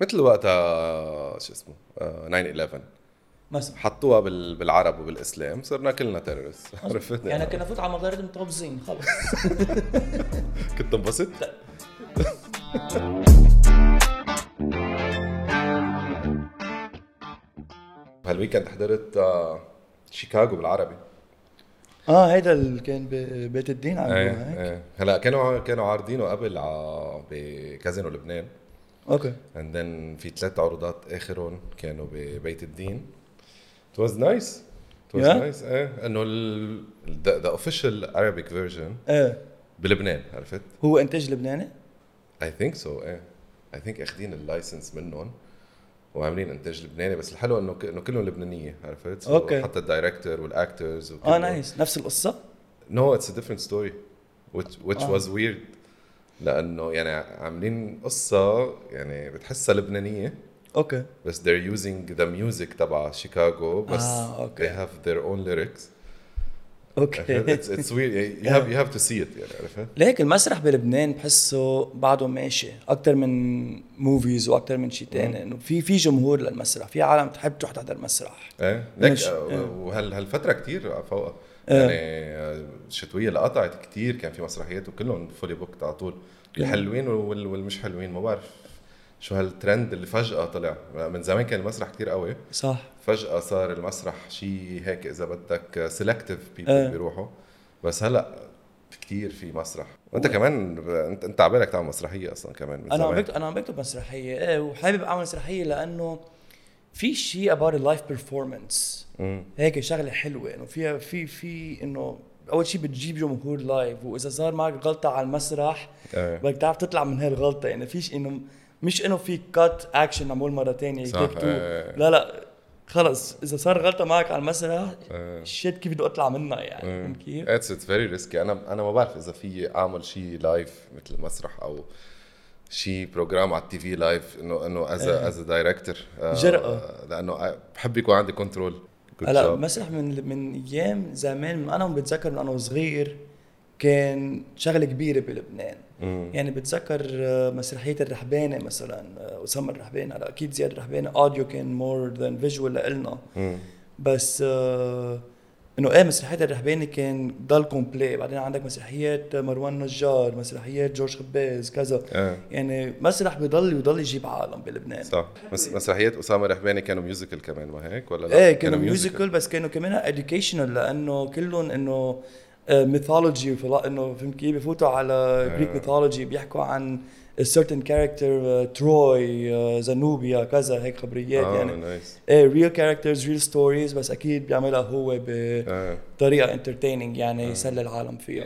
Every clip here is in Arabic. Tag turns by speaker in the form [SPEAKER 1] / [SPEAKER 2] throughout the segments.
[SPEAKER 1] مثل وقتها شو اسمه آه، 9/11
[SPEAKER 2] مثلا
[SPEAKER 1] حطوها بال... بالعرب وبالاسلام صرنا كلنا تيرورست عرفت
[SPEAKER 2] يعني كنا فوت على مظاهره المتطابزين خلص
[SPEAKER 1] كنت انبسط هالويكند حضرت آه، شيكاغو بالعربي
[SPEAKER 3] اه هيدا اللي كان ب- بيت الدين عم
[SPEAKER 1] ايه
[SPEAKER 3] يعملوها هيك
[SPEAKER 1] ايه هلا كانوا كانوا عارضينه قبل ع- بكازينو لبنان
[SPEAKER 3] اوكي
[SPEAKER 1] and then في ثلاث عروضات اخرهم كانوا ببيت الدين it was nice it was
[SPEAKER 3] Yeah.
[SPEAKER 1] nice ايه انه ال the, the official Arabic version
[SPEAKER 3] ايه
[SPEAKER 1] بلبنان عرفت
[SPEAKER 3] هو انتاج لبناني؟
[SPEAKER 1] I think so ايه I think اخذين اللايسنس منهم وعاملين انتاج لبناني بس الحلو انه ك- انه كلهم لبنانيه عرفت؟ So
[SPEAKER 3] أوكي.
[SPEAKER 1] حتى الدايركتور والاكترز
[SPEAKER 3] اه نايس نفس القصه؟
[SPEAKER 1] نو اتس ا ديفرنت ستوري which which
[SPEAKER 3] آه.
[SPEAKER 1] was weird لانه يعني عاملين قصه يعني بتحسها لبنانيه
[SPEAKER 3] اوكي
[SPEAKER 1] بس they're using the music تبع شيكاغو بس
[SPEAKER 3] آه، أوكي.
[SPEAKER 1] they have their own lyrics عرفت؟
[SPEAKER 3] اوكي
[SPEAKER 1] it's, it's weird you have you have to see it يعني عرفت
[SPEAKER 3] لهيك المسرح بلبنان بحسه بعده ماشي اكثر من موفيز واكثر من شيء ثاني انه في في جمهور للمسرح في عالم تحب تروح تحضر مسرح
[SPEAKER 1] ايه لك
[SPEAKER 3] مش- إيه.
[SPEAKER 1] وهالفتره كثير فوقها
[SPEAKER 3] إيه.
[SPEAKER 1] يعني آه، الشتويه اللي قطعت كثير كان في مسرحيات وكلهم فولي بوكت على طول
[SPEAKER 3] إيه.
[SPEAKER 1] الحلوين وال- والمش حلوين ما بعرف شو هالترند اللي فجاه طلع من زمان كان المسرح كثير قوي
[SPEAKER 3] صح
[SPEAKER 1] فجأة صار المسرح شيء هيك إذا بدك سيلكتيف
[SPEAKER 3] إيه.
[SPEAKER 1] بيبل بيروحوا بس هلا كتير في مسرح وانت كمان ب- انت انت عبالك تعمل مسرحيه اصلا كمان من
[SPEAKER 2] انا عم
[SPEAKER 1] زمان
[SPEAKER 2] بكتب انا عم بكتب مسرحيه
[SPEAKER 3] إيه،
[SPEAKER 2] ايه وحابب اعمل مسرحيه لانه في شيء about اللايف بيرفورمانس
[SPEAKER 1] مم.
[SPEAKER 2] هيك شغله حلوه انه فيها في في انه اول شيء بتجيب جمهور لايف واذا صار معك غلطه على المسرح
[SPEAKER 1] إيه.
[SPEAKER 2] بدك تعرف تطلع من هالغلطه يعني فيش انه مش انه في كات اكشن معمول مره ثانيه
[SPEAKER 1] صح، إيه.
[SPEAKER 2] لا لا خلص اذا صار غلطه معك على المسرح
[SPEAKER 1] إيه.
[SPEAKER 2] شيت كيف بدي اطلع منها
[SPEAKER 1] آه.
[SPEAKER 2] يعني فهمت كيف؟
[SPEAKER 1] اتس اتس فيري ريسكي انا انا ما بعرف اذا في اعمل شيء لايف مثل مسرح او شيء بروجرام على التي في لايف انه انه از از دايركتور
[SPEAKER 2] جرأة.
[SPEAKER 1] لانه آه، بحب يكون عندي كنترول
[SPEAKER 2] هلا مسرح آه، من من ايام زمان من انا بتذكر من انا وصغير كان شغله كبيره بلبنان يعني بتذكر آه، مسرحيه الرحبانه مثلا آه، اسامه الرحبانه هلا اكيد زياد الرحبانه اوديو كان مور ذان فيجوال لنا بس آه، انه ايه مسرحيات الرهباني كان ضل كومبلي بعدين عندك مسرحيات مروان نجار مسرحيات جورج خباز كذا
[SPEAKER 1] إيه.
[SPEAKER 2] يعني مسرح بضل يضل يجيب عالم بلبنان
[SPEAKER 1] صح مس- مسرحيات اسامه رحباني كانوا ميوزيكال كمان ما هيك ولا لا؟
[SPEAKER 2] ايه كانوا ميوزيكال بس كانوا كمان اديوكيشنال لانه كلهم آه، انه ميثولوجي انه فهمت كيف بفوتوا على جريك ميثولوجي بيحكوا عن certain آه، كاركتر تروي زنوبيا آه، كذا هيك خبريات
[SPEAKER 1] آه،
[SPEAKER 2] يعني
[SPEAKER 1] نايس.
[SPEAKER 2] ايه ريل كاركترز ريل ستوريز بس اكيد بيعملها هو
[SPEAKER 1] آه.
[SPEAKER 2] بطريقه انترتيننج يعني يسلي العالم فيها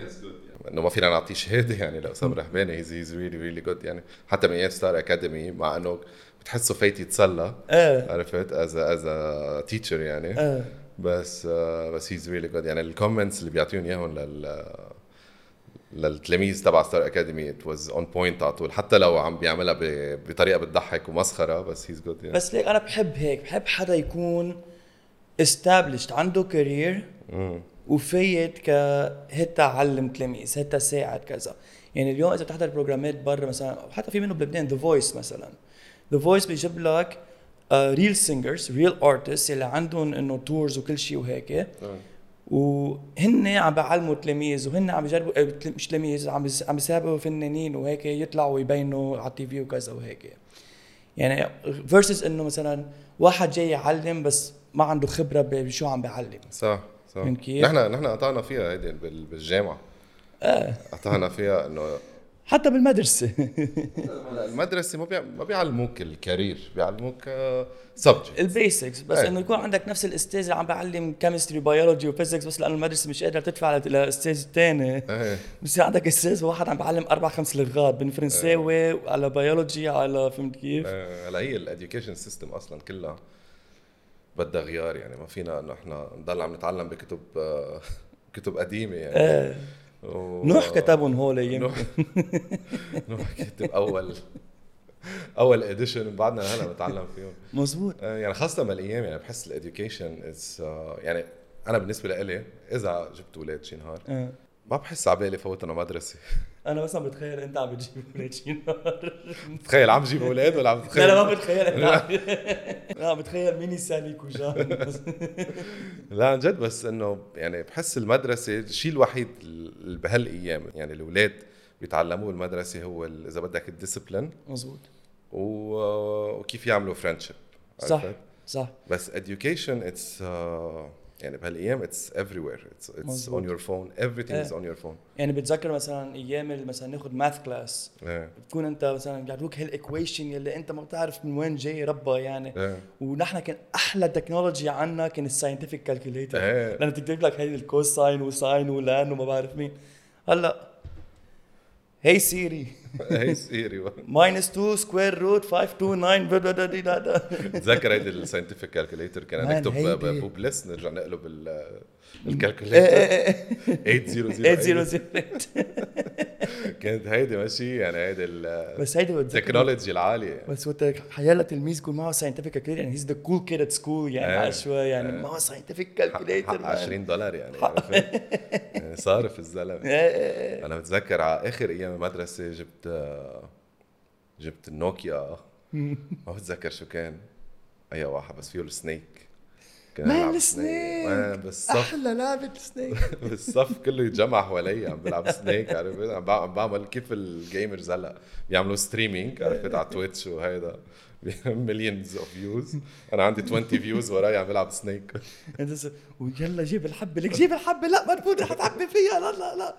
[SPEAKER 1] انه ما فينا نعطيه شهاده يعني لاسامه رحباني هيز هيز ريلي ريلي جود يعني حتى من ايام ستار اكاديمي مع انه بتحسه فايت يتسلى
[SPEAKER 2] ايه
[SPEAKER 1] عرفت از از تيتشر يعني
[SPEAKER 2] ايه
[SPEAKER 1] بس آه، بس هيز ريلي جود يعني الكومنتس اللي بيعطيهم اياهم لل للتلاميذ تبع ستار اكاديمي ات واز اون بوينت على طول حتى لو عم بيعملها ب- بطريقه بتضحك ومسخره بس هيز جود يعني
[SPEAKER 2] بس ليك انا بحب هيك بحب حدا يكون استابلشت عنده كارير وفايت ك هتا علم تلاميذ هتا ساعد كذا يعني اليوم اذا بتحضر بروجرامات برا مثلا أو حتى في منه بلبنان ذا فويس مثلا ذا فويس بيجيب لك آه، ريل سينجرز ريل ارتست اللي عندهم انه تورز وكل شيء وهيك وهن عم بعلموا تلاميذ وهن عم بجربوا آه، تل- مش تلاميذ عم بس- عم بيسابقوا فنانين وهيك يطلعوا يبينوا على التي في وكذا وهيك يعني فيرسز انه مثلا واحد جاي يعلم بس ما عنده خبره بشو عم بيعلم
[SPEAKER 1] صح صح
[SPEAKER 2] فهمت كيف؟
[SPEAKER 1] نحن نحن قطعنا فيها هيدي بال- بالجامعه اه قطعنا فيها انه
[SPEAKER 2] حتى بالمدرسه
[SPEAKER 1] المدرسه ما بيع... ما بيعلموك الكارير بيعلموك آه، سبجكت
[SPEAKER 2] البيسكس بس
[SPEAKER 1] إيه.
[SPEAKER 2] انه يكون عندك نفس الاستاذ اللي عم بيعلم كيمستري وبيولوجي وفيزيكس بس لانه المدرسه مش قادره تدفع لت- لاستاذ تاني
[SPEAKER 1] ايه
[SPEAKER 2] بصير عندك استاذ واحد عم بيعلم اربع خمس لغات بين فرنساوي وعلى بيولوجي على فهمت كيف؟
[SPEAKER 1] آه، هلا هي الاديوكيشن سيستم اصلا كلها بدها غيار يعني ما فينا انه احنا نضل عم نتعلم بكتب آه، كتب قديمه يعني
[SPEAKER 2] ايه
[SPEAKER 1] و...
[SPEAKER 2] نوح كتبهم هول إيه. يمكن
[SPEAKER 1] نوح نوح كتب اول اول اديشن بعدنا هلا بنتعلم فيهم
[SPEAKER 2] مزبوط
[SPEAKER 1] آه، يعني خاصة بالايام يعني بحس آه، الاديوكيشن از يعني انا بالنسبة لإلي اذا جبت اولاد شي نهار
[SPEAKER 2] آه.
[SPEAKER 1] ما بحس على بالي فوت انا مدرسه
[SPEAKER 2] انا بس عم بتخيل انت عم بتجيب اولاد شي نهار
[SPEAKER 1] بتخيل عم جيب اولاد ولا عم تخيل
[SPEAKER 2] لا لا ما بتخيل انت عم- لا عم بتخيل ميني سالي كوجان
[SPEAKER 1] لا عن جد بس انه يعني بحس المدرسه الشيء الوحيد ال- بهالايام يعني الاولاد بيتعلموه المدرسه هو ال- اذا بدك الديسبلين
[SPEAKER 2] مزبوط
[SPEAKER 1] و- وكيف يعملوا فريندشيب
[SPEAKER 2] صح صح
[SPEAKER 1] بس education it's uh, يعني بهالايام it's everywhere it's it's
[SPEAKER 2] مزبوط.
[SPEAKER 1] on your phone everything is
[SPEAKER 2] إيه.
[SPEAKER 1] on your phone
[SPEAKER 2] يعني بتذكر مثلا ايام اللي مثلا ناخذ ماث كلاس
[SPEAKER 1] إيه.
[SPEAKER 2] بتكون انت مثلا بيعطوك هالايكويشن يلي انت ما بتعرف من وين جاي ربها يعني
[SPEAKER 1] إيه.
[SPEAKER 2] ونحن كان احلى تكنولوجيا عنا كان الساينتفك كالكوليتر
[SPEAKER 1] إيه.
[SPEAKER 2] لانه بتكتب لك هيدي الكوساين وساين ولان وما بعرف مين هلا هي سيري
[SPEAKER 1] هي سيري
[SPEAKER 2] ماينس 2 سكوير روت 529 بدا دا دي دا دا.
[SPEAKER 1] بتذكر هيدي الساينتفك كالكوليتر كنا
[SPEAKER 2] مان،
[SPEAKER 1] نكتب
[SPEAKER 2] هيدي.
[SPEAKER 1] بوبلس نرجع نقلب ال-
[SPEAKER 2] إيه
[SPEAKER 1] الكالكوليتر
[SPEAKER 2] إيه إيه.
[SPEAKER 1] 800
[SPEAKER 2] 800
[SPEAKER 1] كانت هيدي ماشي يعني هيدي ال-
[SPEAKER 2] بس هيدي بتذكر
[SPEAKER 1] التكنولوجي العاليه
[SPEAKER 2] بس وقت حيلا تلميذ يكون معه ساينتفك كالكوليتر يعني هيز ذا كول كيد ات سكول
[SPEAKER 1] إيه.
[SPEAKER 2] يعني شوي يعني معه ساينتفك كالكوليتر
[SPEAKER 1] حق 20 دولار يعني عرفت؟ يعني صارف الزلمه
[SPEAKER 2] Eh,
[SPEAKER 1] انا بتذكر على اخر ايام المدرسه جبت آه، جبت النوكيا ما بتذكر شو كان اي واحد بس فيه السنيك كنا
[SPEAKER 2] مان،
[SPEAKER 1] نلعب
[SPEAKER 2] السنيك!
[SPEAKER 1] مان، بالصف
[SPEAKER 2] احلى لعبه سنيك
[SPEAKER 1] بالصف كله يتجمع حوالي عم بلعب سنيك عرفت إيه؟ عم بع- عم بعمل كيف الجيمرز هلا بيعملوا ستريمينج عرفت على تويتش وهيدا مليونز اوف فيوز انا عندي 20 فيوز وراي عم بلعب سنيك
[SPEAKER 2] انت س- ويلا جيب الحبه لك جيب الحبه لا ما تفوت رح تعبي فيها لا لا لا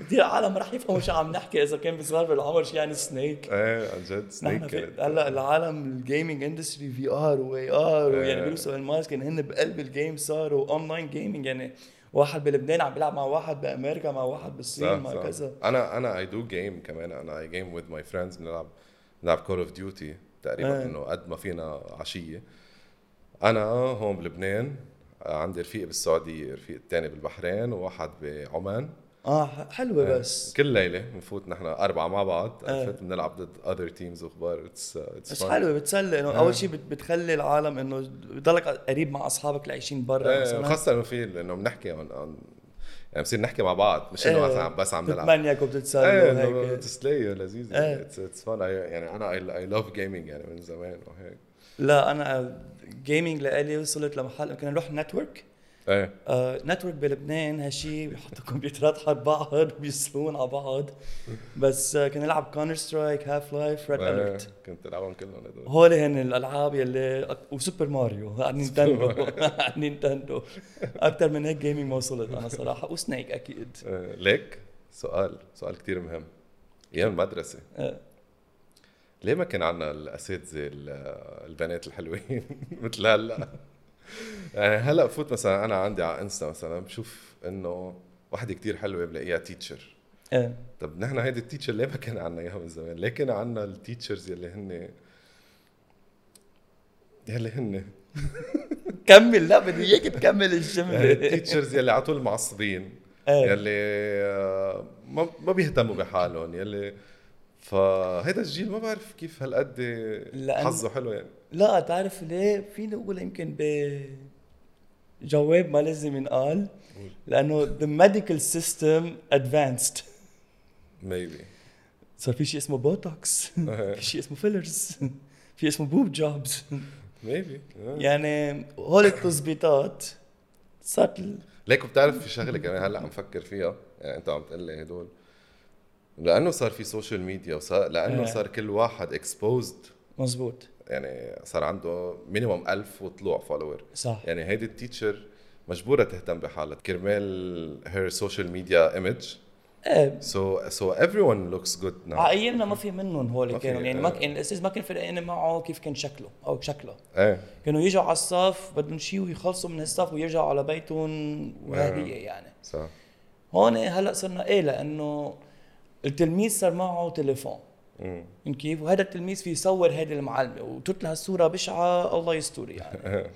[SPEAKER 2] كثير عالم رح يفهموا شو عم نحكي اذا كان بصغار بالعمر شو يعني سنيك
[SPEAKER 1] ايه عن جد سنيك
[SPEAKER 2] نحن في-
[SPEAKER 1] كانت-
[SPEAKER 2] هلا العالم الجيمنج اندستري في ار واي ار ويعني
[SPEAKER 1] آه.
[SPEAKER 2] بيلبسوا الماسك يعني هن بقلب الجيم صاروا اونلاين جيمنج يعني واحد بلبنان عم بيلعب مع واحد بامريكا مع واحد بالصين
[SPEAKER 1] صح
[SPEAKER 2] مع
[SPEAKER 1] صح
[SPEAKER 2] كذا
[SPEAKER 1] انا انا اي دو جيم كمان انا اي جيم وذ ماي فريندز بنلعب بنلعب كول اوف ديوتي تقريبا
[SPEAKER 2] إيه.
[SPEAKER 1] انه قد ما فينا عشيه انا هون بلبنان عندي رفيق بالسعوديه رفيق الثاني بالبحرين وواحد بعمان
[SPEAKER 2] اه ح- حلوه
[SPEAKER 1] إيه.
[SPEAKER 2] بس
[SPEAKER 1] كل ليله بنفوت نحن اربعه مع بعض
[SPEAKER 2] إيه.
[SPEAKER 1] عرفت بنلعب ضد اذر تيمز وخبار اتس
[SPEAKER 2] بس حلوه بتسلي انه
[SPEAKER 1] إيه.
[SPEAKER 2] اول شيء بتخلي العالم انه بضلك قريب مع اصحابك اللي عايشين
[SPEAKER 1] إيه،
[SPEAKER 2] برا مثلا
[SPEAKER 1] خاصه انه في انه بنحكي عن عن- يعني بصير نحكي مع بعض مش انه
[SPEAKER 2] إيه.
[SPEAKER 1] مثلا بس عم نلعب
[SPEAKER 2] بتتمنيك وبتتسلى
[SPEAKER 1] ايه
[SPEAKER 2] وهيك
[SPEAKER 1] تسلية لذيذة
[SPEAKER 2] إيه.
[SPEAKER 1] اتس اتس فن يعني انا اي لاف جيمنج يعني من زمان وهيك
[SPEAKER 2] لا انا جيمنج لالي وصلت لمحل كنا نروح نتورك
[SPEAKER 1] ايه
[SPEAKER 2] آه، نتورك بلبنان هالشي بيحطوا كمبيوترات حد بعض وبيسلون على بعض بس آه، كنا نلعب كونر سترايك هاف لايف ريد
[SPEAKER 1] إيه،
[SPEAKER 2] اليرت
[SPEAKER 1] كنت العبهم كلهم هدول
[SPEAKER 2] هول هن الالعاب يلي وسوبر ماريو على نينتندو على نينتندو اكثر من هيك جيمنج ما وصلت انا صراحه وسنيك اكيد
[SPEAKER 1] إيه، ليك سؤال سؤال كتير مهم ايام المدرسة
[SPEAKER 2] آه،
[SPEAKER 1] ليه ما كان عندنا الاساتذة ال- البنات الحلوين مثل هلا يعني هلا بفوت مثلا انا عندي على انستا مثلا بشوف انه وحده كتير حلوة بلاقيها تيتشر
[SPEAKER 2] إيه.
[SPEAKER 1] طب نحن هيدي التيتشر ليه ما كان عنا اياها من زمان؟ ليه كان عنا التيتشرز يلي هن يلي هن
[SPEAKER 2] كمل لا بدي اياك تكمل الجمله
[SPEAKER 1] التيتشرز يعني يلي على طول معصبين
[SPEAKER 2] إيه.
[SPEAKER 1] يلي آه، ما ما بيهتموا بحالهم يلي فهيدا الجيل ما بعرف كيف هالقد
[SPEAKER 2] لأن-
[SPEAKER 1] حظه حلو يعني
[SPEAKER 2] لا تعرف ليه فينا نقول يمكن ب جواب ما لازم ينقال لانه the medical system advanced
[SPEAKER 1] ميبي
[SPEAKER 2] صار في شيء اسمه بوتوكس في شيء اسمه فيلرز في اسمه بوب جوبز
[SPEAKER 1] ميبي
[SPEAKER 2] يعني هول التظبيطات صارت ال-
[SPEAKER 1] ليك بتعرف في شغله كمان هلا عم فكر فيها يعني انت عم تقول لي هدول لانه صار في سوشيال ميديا وصار لانه
[SPEAKER 2] إيه.
[SPEAKER 1] صار كل واحد اكسبوزد
[SPEAKER 2] مزبوط
[SPEAKER 1] يعني صار عنده مينيموم ألف وطلوع فولور
[SPEAKER 2] صح
[SPEAKER 1] يعني هيدي التيتشر مجبوره تهتم بحالها كرمال هير سوشيال ميديا ايمج
[SPEAKER 2] ايه
[SPEAKER 1] So so everyone looks good now.
[SPEAKER 2] على ايامنا ما في منهم هول
[SPEAKER 1] نعم. ما في،
[SPEAKER 2] كانوا يعني ما
[SPEAKER 1] آه.
[SPEAKER 2] كان الاستاذ ما كان فرقان معه كيف كان شكله او شكله
[SPEAKER 1] ايه
[SPEAKER 2] كانوا يجوا على الصف بدهم شيء ويخلصوا من الصف ويرجعوا على بيتهم وهديه
[SPEAKER 1] إيه.
[SPEAKER 2] يعني
[SPEAKER 1] صح
[SPEAKER 2] هون هلا صرنا ايه لانه التلميذ صار معه تليفون
[SPEAKER 1] مم.
[SPEAKER 2] فهمت كيف؟ وهذا التلميذ في يصور هيدي المعلمه وتطلع الصوره بشعه الله يستوري
[SPEAKER 1] إيه.
[SPEAKER 2] يعني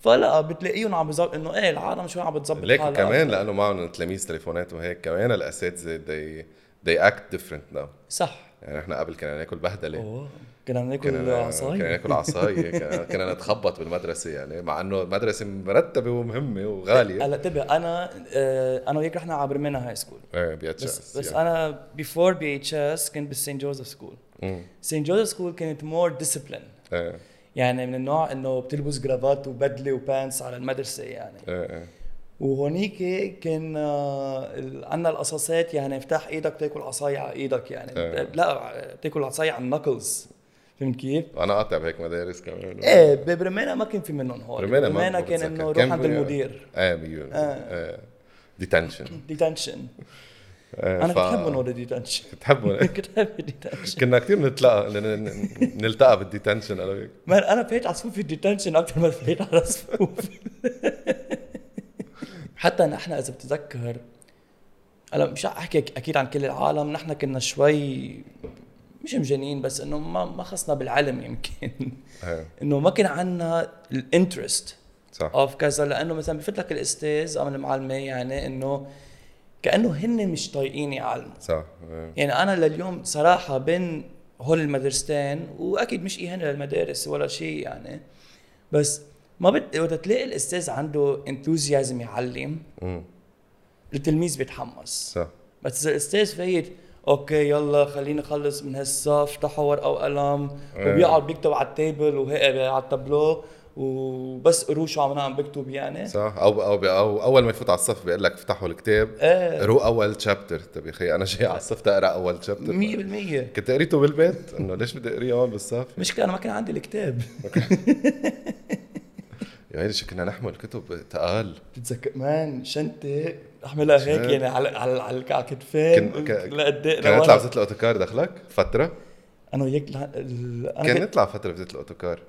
[SPEAKER 2] فلا بتلاقيهم عم بزبط انه ايه العالم شوي عم بتظبط
[SPEAKER 1] ليك
[SPEAKER 2] حالها
[SPEAKER 1] كمان لانه معهم تلاميذ تليفونات وهيك كمان الاساتذه they they act different now
[SPEAKER 2] صح
[SPEAKER 1] يعني احنا قبل كنا ناكل بهدله
[SPEAKER 2] أوه. كنا بناكل
[SPEAKER 1] كنا
[SPEAKER 2] عصاية
[SPEAKER 1] كنا ناكل عصاية كنا- كنا نتخبط بالمدرسة يعني مع انه المدرسة مرتبة ومهمة وغالية
[SPEAKER 2] هلا انتبه انا آه، انا وياك رحنا على برمينا هاي سكول
[SPEAKER 1] ايه بيتش
[SPEAKER 2] بس بس انا بيفور بي اتش اس كنت بالسين جوزيف سكول
[SPEAKER 1] مم.
[SPEAKER 2] سين جوزيف سكول كانت مور ديسيبلين
[SPEAKER 1] ايه
[SPEAKER 2] يعني من النوع انه بتلبس جرافات وبدله وبانس على المدرسه يعني
[SPEAKER 1] ايه ايه
[SPEAKER 2] وهونيك كان آه، عندنا القصاصات يعني افتح ايدك تاكل عصاية على ايدك يعني
[SPEAKER 1] آه.
[SPEAKER 2] لا تاكل عصاية على النكلز فهمت كيف؟
[SPEAKER 1] انا قاطع بهيك مدارس كمان
[SPEAKER 2] ايه ببرمانا ما كان في منهم هول
[SPEAKER 1] برمينا ما- ما
[SPEAKER 2] كان
[SPEAKER 1] بتذكر.
[SPEAKER 2] انه روح
[SPEAKER 1] كان
[SPEAKER 2] عند
[SPEAKER 1] بي-
[SPEAKER 2] المدير إيه.
[SPEAKER 1] ايه مليون ايه ديتنشن
[SPEAKER 2] ديتنشن
[SPEAKER 1] إيه،
[SPEAKER 2] انا كنت بحب هول ديتنشن
[SPEAKER 1] بتحبهم
[SPEAKER 2] كنت بحب الديتنشن
[SPEAKER 1] كنا كثير بنتلاقى ن- ن- نلتقى بالديتنشن انا وياك
[SPEAKER 2] مان انا فايت على صفوف الديتنشن اكثر ما فايت على صفوف حتى نحن اذا بتتذكر هلا مش رح احكي اكيد عن كل العالم نحن كنا شوي مش مجانين بس انه ما ما خصنا بالعلم يمكن
[SPEAKER 1] ايه
[SPEAKER 2] انه ما كان عندنا الانترست
[SPEAKER 1] صح
[SPEAKER 2] اوف كذا لانه مثلا بفوت لك الاستاذ او المعلمه يعني انه كانه هن مش طايقين يعلموا
[SPEAKER 1] صح إيه.
[SPEAKER 2] يعني انا لليوم صراحه بين هول المدرستين واكيد مش اهانه للمدارس ولا شيء يعني بس ما بت... وقت تلاقي الاستاذ عنده انثوزيازم يعلم
[SPEAKER 1] مم.
[SPEAKER 2] التلميذ بيتحمس
[SPEAKER 1] صح
[SPEAKER 2] بس اذا الاستاذ فايت اوكي يلا خليني اخلص من هالصف افتحوا ورقه وقلم
[SPEAKER 1] إيه.
[SPEAKER 2] وبيقعد بيكتب على التيبل وهيك على التابلو وبس قروا شو عم عم بكتب يعني
[SPEAKER 1] صح او او او اول ما يفوت على الصف بيقول لك افتحوا الكتاب
[SPEAKER 2] ايه
[SPEAKER 1] قروا اول شابتر طب طيب يا اخي انا جاي على الصف تقرا اول شابتر
[SPEAKER 2] 100%
[SPEAKER 1] كنت قريته بالبيت انه ليش بدي اقريه هون بالصف
[SPEAKER 2] مشكله انا ما كان عندي الكتاب
[SPEAKER 1] يا عيني شو كنا نحمل كتب تقال
[SPEAKER 2] بتتذكر مان شنطه احملها هيك
[SPEAKER 1] شنط.
[SPEAKER 2] يعني على على على على الكتفين إيه؟
[SPEAKER 1] كن- ك-
[SPEAKER 2] لقد
[SPEAKER 1] كنا نطلع بزيت الاوتوكار دخلك فتره
[SPEAKER 2] انا وياك لا- ال- انا
[SPEAKER 1] كان
[SPEAKER 2] كنت
[SPEAKER 1] نطلع فتره بزيت الاوتوكار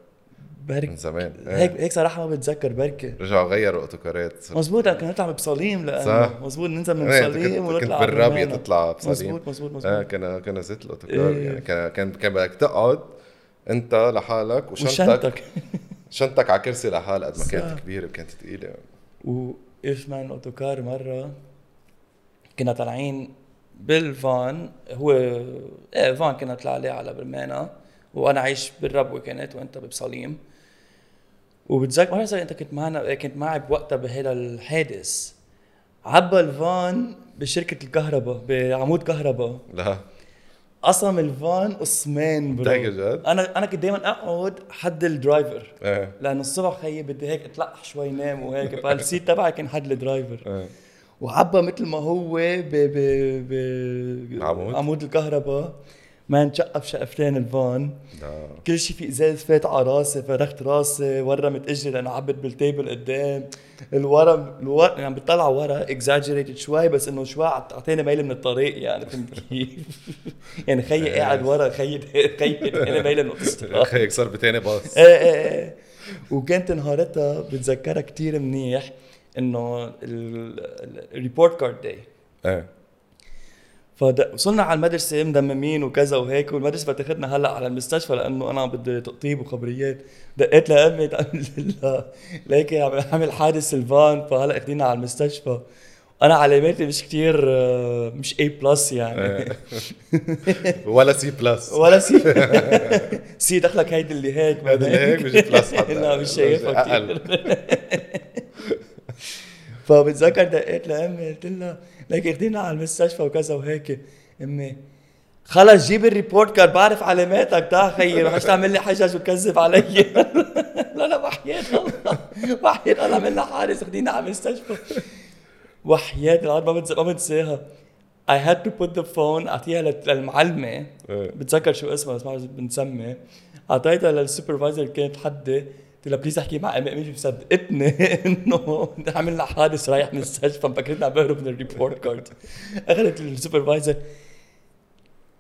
[SPEAKER 1] من
[SPEAKER 2] برك
[SPEAKER 1] زمان إيه.
[SPEAKER 2] هيك هيك صراحه ما بتذكر بركي
[SPEAKER 1] رجعوا غيروا اوتوكارات صرت-
[SPEAKER 2] مزبوط انا كنا نطلع بصليم
[SPEAKER 1] صح.
[SPEAKER 2] لانه مزبوط ننزل من
[SPEAKER 1] إيه، أنت
[SPEAKER 2] صليم
[SPEAKER 1] كنت- كنت
[SPEAKER 2] ونطلع على
[SPEAKER 1] بالرابية
[SPEAKER 2] الرمانة.
[SPEAKER 1] تطلع بصليم
[SPEAKER 2] مزبوط مزبوط
[SPEAKER 1] اه
[SPEAKER 2] مزبوط
[SPEAKER 1] كان كان زيت الاوتوكار
[SPEAKER 2] إيه.
[SPEAKER 1] يعني كان كان كان بدك تقعد انت لحالك وشنطتك
[SPEAKER 2] وشنطك
[SPEAKER 1] شنطك على كرسي لحال قد ما كانت
[SPEAKER 2] صح.
[SPEAKER 1] كبيره وكانت ثقيله
[SPEAKER 2] وقف معنا الاوتوكار مره كنا طالعين بالفان هو ايه فان كنا طلع عليه على برمانا وانا عايش بالربوه كانت وانت ببصليم وبتذكر ما بعرف إذا انت كنت معنا كنت معي بوقتها بهذا الحادث عبى الفان بشركه الكهرباء بعمود كهرباء
[SPEAKER 1] لا
[SPEAKER 2] قسم الفان قسمين برو
[SPEAKER 1] بتحكي جد؟
[SPEAKER 2] انا انا كنت دائما اقعد حد الدرايفر
[SPEAKER 1] ايه
[SPEAKER 2] لانه الصبح خيي بدي هيك اتلقح شوي نام وهيك فالسيت تبعي كان حد الدرايفر
[SPEAKER 1] ايه
[SPEAKER 2] وعبى مثل ما هو ب ب ب
[SPEAKER 1] عمود؟
[SPEAKER 2] عمود الكهرباء ما انشقف شقفتين الفان
[SPEAKER 1] لا
[SPEAKER 2] كل شيء في ازاز فات على راسي فرخت راسي ورمت اجري لانه عبت بالتيبل قدام الورا الورا يعني بتطلع ورا اكزاجريتد شوي بس انه شوي عط- اعطيني ميل من الطريق يعني فهمت كيف؟ يعني خيي قاعد ورا خيي خيي انا ميل من الطريق
[SPEAKER 1] هيك صار بتاني باص
[SPEAKER 2] ايه ايه ايه وكانت نهارتها بتذكرها كتير منيح انه الريبورت كارد داي
[SPEAKER 1] ايه
[SPEAKER 2] فوصلنا على المدرسه مدممين وكذا وهيك والمدرسه بتاخذنا هلا على المستشفى لانه انا بدي تقطيب وخبريات دقيت لامي ليك عم عمل حادث الفان فهلا اخذينا على المستشفى انا علاماتي مش كتير آه، مش A بلس
[SPEAKER 1] إيه.
[SPEAKER 2] يعني
[SPEAKER 1] ولا سي بلس
[SPEAKER 2] ولا سي سي دخلك هيدي اللي هيك ما
[SPEAKER 1] هيدي اللي هيك مش بلس حتى.
[SPEAKER 2] لا مش شايفها
[SPEAKER 1] أقل.
[SPEAKER 2] كثير فبتذكر دقيت لامي قلت لها لك اخذينا على المستشفى وكذا وهيك امي خلص جيب الريبورت كارد بعرف علاماتك تعال خيي ما حدش تعمل لي حجج وتكذب علي لا لا وحياة الله وحياة الله عملنا حادث خدينا على المستشفى وحياة العالم ما بنس- ما بنساها I had to put the phone اعطيها لت- للمعلمه
[SPEAKER 1] إيه.
[SPEAKER 2] بتذكر شو اسمها بس ما بعرف بنسمي اعطيتها للسوبرفايزر اللي كانت حدي قلت لها بليز احكي مع امي امي مصدقتني انه عملنا حادث رايح من المستشفى مفكرتني عم بهرب من الريبورت كارد اخذت السوبرفايزر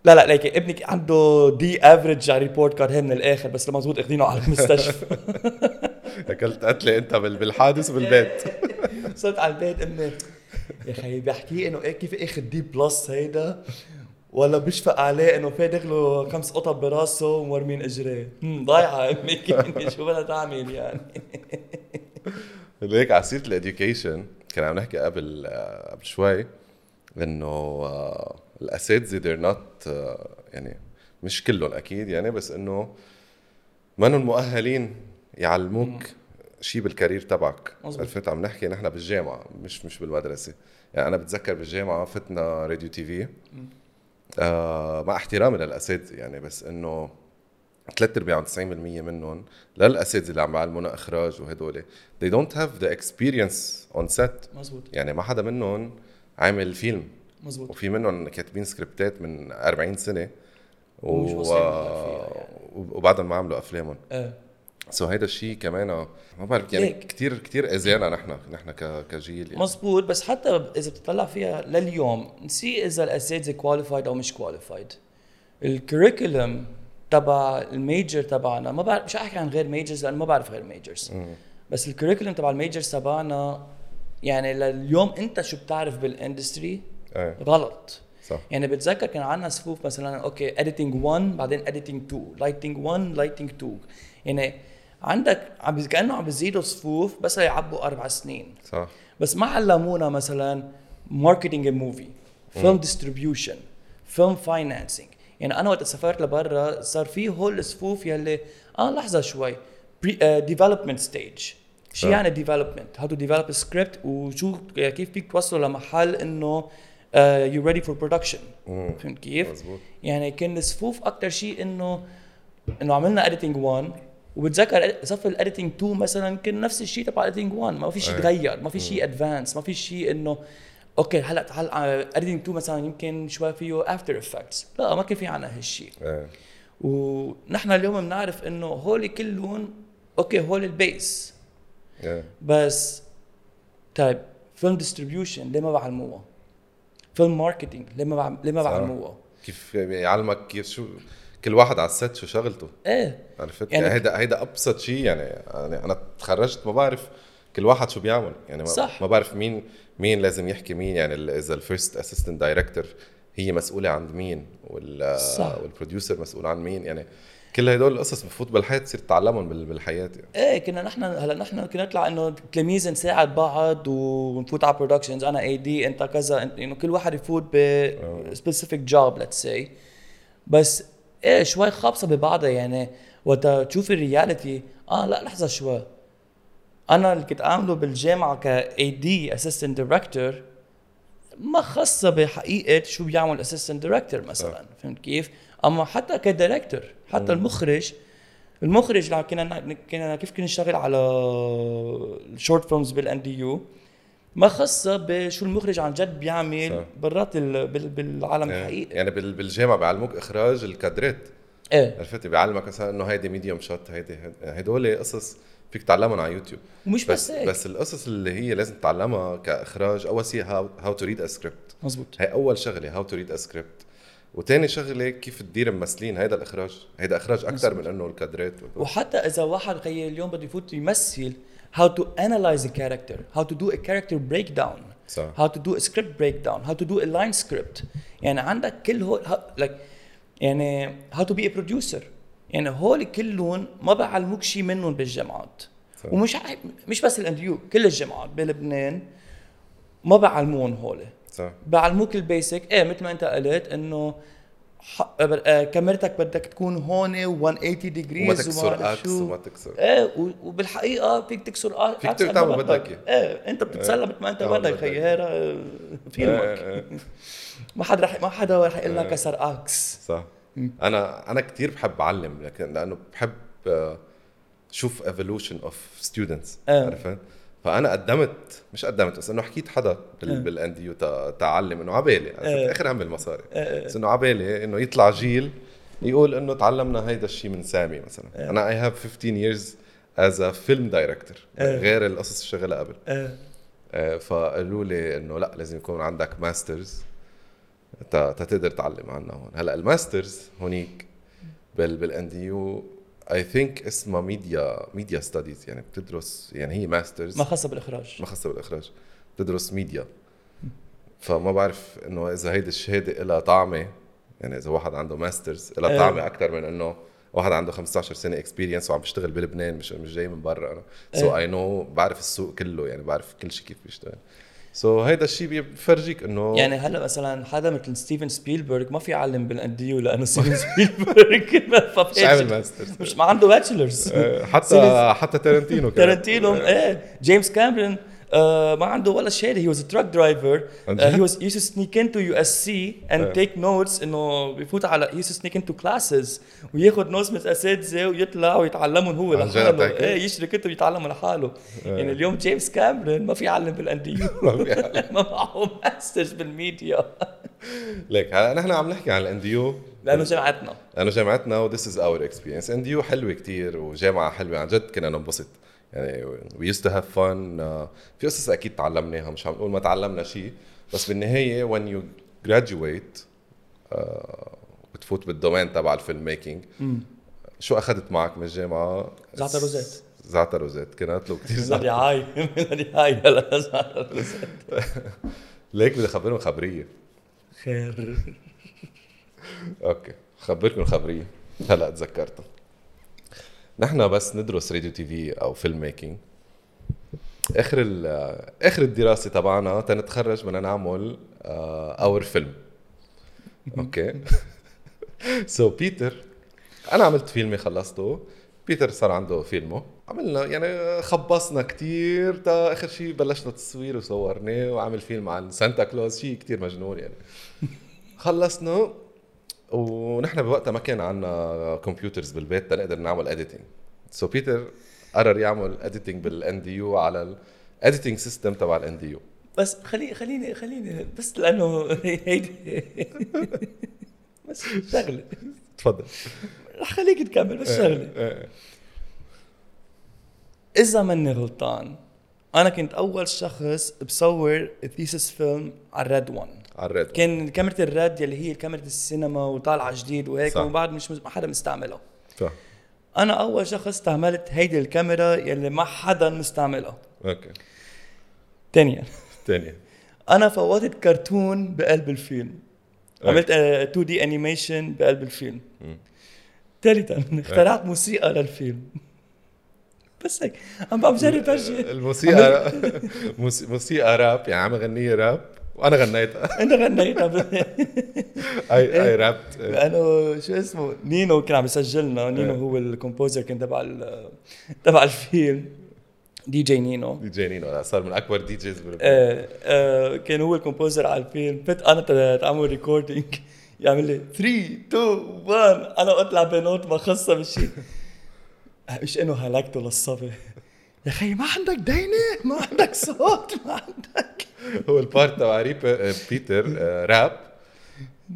[SPEAKER 2] لا لا ليك ابنك عنده دي افريج على الريبورت كارد هي من الاخر بس مزبوط اخذينه على المستشفى
[SPEAKER 1] اكلت قتله انت بال- بالحادث بالبيت
[SPEAKER 2] وصلت على البيت امي يا خيي بحكي انه إيه كيف اخذ دي بلس هيدا ولا بشفق عليه انه في دخله خمس قطب براسه ومورمين اجريه هم، ضايعه امي كاني شو بدها تعمل يعني
[SPEAKER 1] ليك على سيره الاديوكيشن كنا عم نحكي قبل آه، قبل شوي انه آه، الاساتذه they're not آه، يعني مش كلهم اكيد يعني بس انه منهم مؤهلين يعلموك شيء بالكارير تبعك
[SPEAKER 2] مظبوط.
[SPEAKER 1] عرفت عم نحكي نحن بالجامعه مش مش بالمدرسه يعني انا بتذكر بالجامعه فتنا راديو تي في آه مع احترامي للاساتذه يعني بس انه ثلاث ارباع 90% منهم للاساتذه اللي عم يعلمونا اخراج وهدول they don't have the experience on set
[SPEAKER 2] مزبوط
[SPEAKER 1] يعني ما حدا منهم عامل فيلم
[SPEAKER 2] مزبوط
[SPEAKER 1] وفي منهم كاتبين سكريبتات من 40 سنه
[SPEAKER 2] ومش واصلين لهالفئة
[SPEAKER 1] وبعدهم ما عملوا افلامهم
[SPEAKER 2] ايه
[SPEAKER 1] سو هيدا الشيء كمان ما بعرف يعني
[SPEAKER 2] ليك.
[SPEAKER 1] كثير كثير اذانا نحن نحن ك- كجيل يعني
[SPEAKER 2] مزبوط بس حتى اذا بتطلع فيها لليوم نسي اذا الاساتذه كواليفايد او مش كواليفايد الكcurriculum تبع الميجر تبعنا ما بعرف مش رح احكي عن غير ميجرز لانه ما بعرف غير ميجرز بس الكcurriculum تبع الميجرز تبعنا يعني لليوم انت شو بتعرف بالاندستري
[SPEAKER 1] ايه
[SPEAKER 2] غلط
[SPEAKER 1] صح
[SPEAKER 2] يعني بتذكر كان عندنا صفوف مثلا اوكي editing 1 بعدين editing 2 lighting 1 lighting 2 يعني عندك عم بز- كانه عم بيزيدوا صفوف بس ليعبوا اربع سنين
[SPEAKER 1] صح
[SPEAKER 2] بس ما علمونا مثلا ماركتينج موفي فيلم ديستريبيوشن فيلم فاينانسينج يعني انا وقت سافرت لبرا صار في هول الصفوف يلي اه لحظه شوي ديفلوبمنت ستيج
[SPEAKER 1] صح.
[SPEAKER 2] شو يعني ديفلوبمنت؟ هاو تو ديفلوب سكريبت وشو يعني كيف فيك توصله لمحل آه، انه يو ريدي فور برودكشن
[SPEAKER 1] مم.
[SPEAKER 2] فهمت كيف؟
[SPEAKER 1] مزبوط.
[SPEAKER 2] يعني كان صفوف اكثر شيء انه انه عملنا اديتنج 1 وبتذكر صف الاديتنج 2 مثلا كان نفس الشيء تبع اديتنج 1 ما في شيء
[SPEAKER 1] أيه.
[SPEAKER 2] تغير ما في شيء ادفانس ما في شيء انه اوكي هلا تعال اديتنج 2 مثلا يمكن شوي فيه افتر افكتس لا ما كان في عنا هالشيء
[SPEAKER 1] ايه
[SPEAKER 2] ونحن اليوم بنعرف انه هول كلهم اوكي هول البيس
[SPEAKER 1] ايه
[SPEAKER 2] بس طيب فيلم ديستريبيوشن ليه ما بعلموها؟ فيلم ماركتينج ليه ما بعم- ليه ما
[SPEAKER 1] صح.
[SPEAKER 2] بعلموها؟
[SPEAKER 1] كيف يعلمك كيف شو كل واحد على الست شو شغلته
[SPEAKER 2] ايه
[SPEAKER 1] عرفت
[SPEAKER 2] يعني-
[SPEAKER 1] يعني هيدا هيدا ابسط شيء يعني يعني انا تخرجت ما بعرف كل واحد شو بيعمل يعني ما,
[SPEAKER 2] صح.
[SPEAKER 1] ما بعرف مين مين لازم يحكي مين يعني ال- اذا الفيرست اسيستنت دايركتور هي مسؤوله عند مين وال
[SPEAKER 2] صح.
[SPEAKER 1] والبروديوسر مسؤول عن مين يعني كل هدول القصص بفوت بالحياه تصير تتعلمهم بال- بالحياه يعني.
[SPEAKER 2] ايه كنا نحن هلا نحن كنا نطلع انه تلاميذ نساعد بعض ونفوت على برودكشنز انا اي دي انت كذا انت انه كل واحد يفوت ب سبيسيفيك جوب ليتس سي بس ايه شوي خابصه ببعضها يعني وقت تشوف الرياليتي اه لا لحظه شوي انا اللي كنت اعمله بالجامعه كاي دي اسيستنت دايركتور ما خاصه بحقيقه شو بيعمل اسيستنت دايركتور مثلا فهمت كيف؟ اما حتى كدايركتور حتى المخرج المخرج لما كنا كنا كيف كنا نشتغل على الشورت فيلمز بالان دي يو ما خاصه بشو المخرج عن جد بيعمل
[SPEAKER 1] صح.
[SPEAKER 2] برات ال- بال- بالعالم
[SPEAKER 1] يعني,
[SPEAKER 2] الحقيقي
[SPEAKER 1] يعني بال- بالجامعه بيعلموك اخراج الكادرات
[SPEAKER 2] ايه
[SPEAKER 1] عرفت بيعلمك مثلا انه هيدي ميديوم شوت هيدي هدول قصص فيك تعلمهم على يوتيوب
[SPEAKER 2] ومش
[SPEAKER 1] بس
[SPEAKER 2] بس هيك.
[SPEAKER 1] بس القصص اللي هي لازم تتعلمها كاخراج اول شيء هاو تو ريد سكريبت
[SPEAKER 2] مزبوط
[SPEAKER 1] هي اول شغله هاو تو ريد سكريبت وتاني شغله كيف تدير ممثلين هيدا الاخراج هيدا اخراج اكثر من انه الكادرات
[SPEAKER 2] وحتى اذا واحد غير اليوم بده يفوت يمثل how to analyze a character how to do a character breakdown
[SPEAKER 1] صح.
[SPEAKER 2] how to do a script breakdown how to do a line script يعني عندك كل هول ه- like يعني how to be a producer يعني هول كلهم ما بعلموك شيء منهم بالجامعات
[SPEAKER 1] صح.
[SPEAKER 2] ومش ع- مش بس الانديو كل الجامعات بلبنان ما بعلمون هول
[SPEAKER 1] صح
[SPEAKER 2] بعلموك البيسك ايه مثل ما انت قلت انه ح- آه، كاميرتك بدك تكون هون و180 ديجريز
[SPEAKER 1] وما تكسر اكس وما تكسر
[SPEAKER 2] ايه و- وبالحقيقه فيك تكسر آ-
[SPEAKER 1] فيك
[SPEAKER 2] عكس قد
[SPEAKER 1] تعمل
[SPEAKER 2] ما
[SPEAKER 1] بدك إياه.
[SPEAKER 2] ايه انت بتتسلى مثل ما انت
[SPEAKER 1] تعمل
[SPEAKER 2] بدك
[SPEAKER 1] بدك
[SPEAKER 2] خيي
[SPEAKER 1] إياه.
[SPEAKER 2] هيدا فيلمك
[SPEAKER 1] إيه. إيه، إيه،
[SPEAKER 2] ما حدا رح ما حدا رح يقول لك كسر اكس
[SPEAKER 1] صح انا انا كثير بحب اعلم لكن لانه بحب آه، شوف evolution اوف ستودنتس
[SPEAKER 2] آه.
[SPEAKER 1] عرفت فانا قدمت مش قدمت بس انه حكيت حدا بال بالان دي يو تعلم انه عبالي عرفت؟ اخر هم المصاري بس انه عبالي انه يطلع جيل يقول انه تعلمنا هيدا الشيء من سامي مثلا انا اي هاف 15 years از ا فيلم دايركتور غير القصص الشغله قبل
[SPEAKER 2] إيه.
[SPEAKER 1] آه، فقالوا لي انه لا لازم يكون عندك ماسترز تا- تتقدر تعلم عنا هون هلا الماسترز هونيك بال بالان دي يو اي ثينك اسمها ميديا ميديا ستاديز يعني بتدرس يعني هي ماسترز
[SPEAKER 2] ما خاصه بالاخراج
[SPEAKER 1] ما خاصه بالاخراج بتدرس ميديا فما بعرف انه اذا هيدي الشهاده لها طعمه يعني اذا واحد عنده ماسترز لها
[SPEAKER 2] إيه.
[SPEAKER 1] طعمه اكثر من انه واحد عنده 15 سنه اكسبيرينس وعم بيشتغل
[SPEAKER 2] إيه.
[SPEAKER 1] بلبنان مش مش جاي من برا انا سو اي نو بعرف السوق كله يعني بعرف كل شيء كيف بيشتغل سو هيدا الشيء بيفرجيك انه
[SPEAKER 2] يعني هلا مثلا حدا مثل ستيفن سبيلبرغ ما في يعلم بالانديو لانه ستيفن سبيلبرغ ما فا-
[SPEAKER 1] مش عامل ماسترز
[SPEAKER 2] مش ما عنده باتشلرز
[SPEAKER 1] آه، حتى
[SPEAKER 2] سيريز.
[SPEAKER 1] حتى تارنتينو كمان.
[SPEAKER 2] تارنتينو ايه جيمس كاميرون آه ما عنده ولا شهاده هي واز تراك درايفر
[SPEAKER 1] عن
[SPEAKER 2] هي
[SPEAKER 1] جد؟
[SPEAKER 2] واز يوز سنيك انتو يو اس سي اند تيك نوتس انه بيفوت على يوز اسنيك انتو كلاسز وياخذ نوتس من اساتذه ويطلع ويتعلمهم هو
[SPEAKER 1] عن جد
[SPEAKER 2] لحاله
[SPEAKER 1] هيك؟
[SPEAKER 2] ايه يشري كتب يتعلمهم لحاله يعني اليوم جيمس كاميرون ما في يعلم بالانديو
[SPEAKER 1] ما في حل.
[SPEAKER 2] ما معه ماسترز بالميديا
[SPEAKER 1] ليك هلا نحن عم نحكي عن الانديو
[SPEAKER 2] لانه جمعتنا
[SPEAKER 1] لانه جامعتنا وذس از اور اكسبيرينس اند يو حلوه كتير وجامعه حلوه عن جد كنا ننبسط يعني وي يوست تو هاف فن آه، في قصص اكيد تعلمناها مش عم نقول ما تعلمنا شيء بس بالنهايه وين يو جراجويت بتفوت بالدومين آه، تبع الفيلم ميكينج شو اخذت معك من الجامعه؟
[SPEAKER 2] زعتر روزات.
[SPEAKER 1] زعتر روزات كنت له كثير
[SPEAKER 2] بدي هاي بدي هاي هلا صار.
[SPEAKER 1] ليك بدي اخبرهم خبريه
[SPEAKER 2] خير
[SPEAKER 1] اوكي خبركم خبريه هلا تذكرتها نحن بس ندرس راديو تي في او فيلم ميكينج اخر ال- اخر الدراسه تبعنا تنتخرج بدنا نعمل آه، اور فيلم اوكي سو بيتر انا عملت فيلمي خلصته بيتر صار عنده فيلمه عملنا يعني خبصنا كتير تا اخر شيء بلشنا تصوير وصورناه وعمل فيلم عن سانتا كلوز شيء كتير مجنون يعني خلصنا ونحن بوقتها ما كان عندنا كمبيوترز بالبيت تنقدر نعمل اديتنج سو بيتر قرر يعمل اديتنج بالان دي يو على الاديتنج سيستم تبع الان دي يو
[SPEAKER 2] بس خلي خليني خليني بس لانه هيدي بس شغله
[SPEAKER 1] تفضل إيه.
[SPEAKER 2] رح خليك تكمل بس شغله اذا ماني غلطان انا كنت اول شخص بصور ثيسس فيلم على الريد 1
[SPEAKER 1] على الريد
[SPEAKER 2] كان كاميرا الريد يلي هي كاميرا السينما وطالعه جديد وهيك
[SPEAKER 1] صح.
[SPEAKER 2] ومن بعد مش ما حدا مستعملها
[SPEAKER 1] فا-
[SPEAKER 2] انا اول شخص استعملت هيدي الكاميرا يلي ما حدا مستعملها
[SPEAKER 1] اوكي
[SPEAKER 2] ثانيا
[SPEAKER 1] ثانية
[SPEAKER 2] انا فوتت كرتون بقلب الفيلم
[SPEAKER 1] أوكي.
[SPEAKER 2] عملت آه، 2 دي انيميشن بقلب الفيلم ثالثا اخترعت موسيقى للفيلم بس هيك عم عم بجرب ارجع
[SPEAKER 1] الموسيقى موس- موسيقى راب يعني عم غنية راب وانا غنيت
[SPEAKER 2] انا غنيتها ب-
[SPEAKER 1] اي اي رابت
[SPEAKER 2] لانه شو اسمه نينو كان عم يسجلنا نينو
[SPEAKER 1] إيه.
[SPEAKER 2] هو الكومبوزر كان تبع ال- تبع الفيلم دي جي نينو
[SPEAKER 1] دي جي نينو هلا صار من اكبر دي جيز بالبلد
[SPEAKER 2] آه، آه، كان هو الكومبوزر على الفيلم فت انا ت- تعمل ريكوردينج يعمل لي 3 2 1 انا اطلع بنوت ما خاصه بشيء مش انه هلكته للصبي يا اخي ما عندك دينه ما عندك صوت ما عندك
[SPEAKER 1] هو البارت تبع ريب- آه، بيتر آه، راب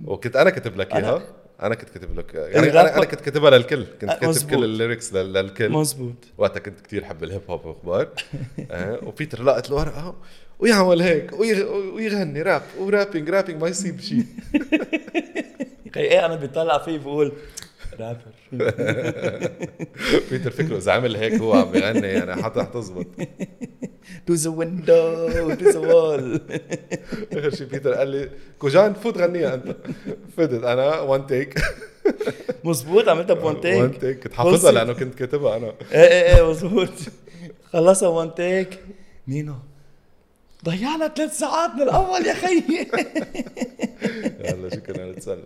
[SPEAKER 1] وكنت انا كاتب لك اياها انا كنت كاتب لك انا
[SPEAKER 2] الراب
[SPEAKER 1] انا, أنا كنت كاتبها للكل كنت
[SPEAKER 2] آه،
[SPEAKER 1] كاتب
[SPEAKER 2] مزبوط.
[SPEAKER 1] كل الليركس لل- للكل
[SPEAKER 2] مزبوط
[SPEAKER 1] وقتها كنت كتير حب الهيب هوب واخبار آه، وبيتر لقط الورقه ويعمل هيك ويغ- ويغني راب ورابينج رابينج ما يصيب شيء
[SPEAKER 2] يا اخي ايه انا بطلع فيه بقول رابر
[SPEAKER 1] بيتر فكره اذا عمل هيك هو عم بيغني يعني حتى حتزبط
[SPEAKER 2] to the window to the wall
[SPEAKER 1] اخر شيء بيتر قال لي كوجان فوت غنيها انت فتت انا وان تيك
[SPEAKER 2] مزبوط عملتها بون
[SPEAKER 1] وان
[SPEAKER 2] تيك
[SPEAKER 1] تيك كنت حافظها
[SPEAKER 2] خلصت.
[SPEAKER 1] لانه كنت كاتبها انا
[SPEAKER 2] ايه ايه ايه مظبوط خلصها وان تيك نينو ضيعنا ثلاث ساعات من الاول يا خيي
[SPEAKER 1] يلا شكرا انا تسلم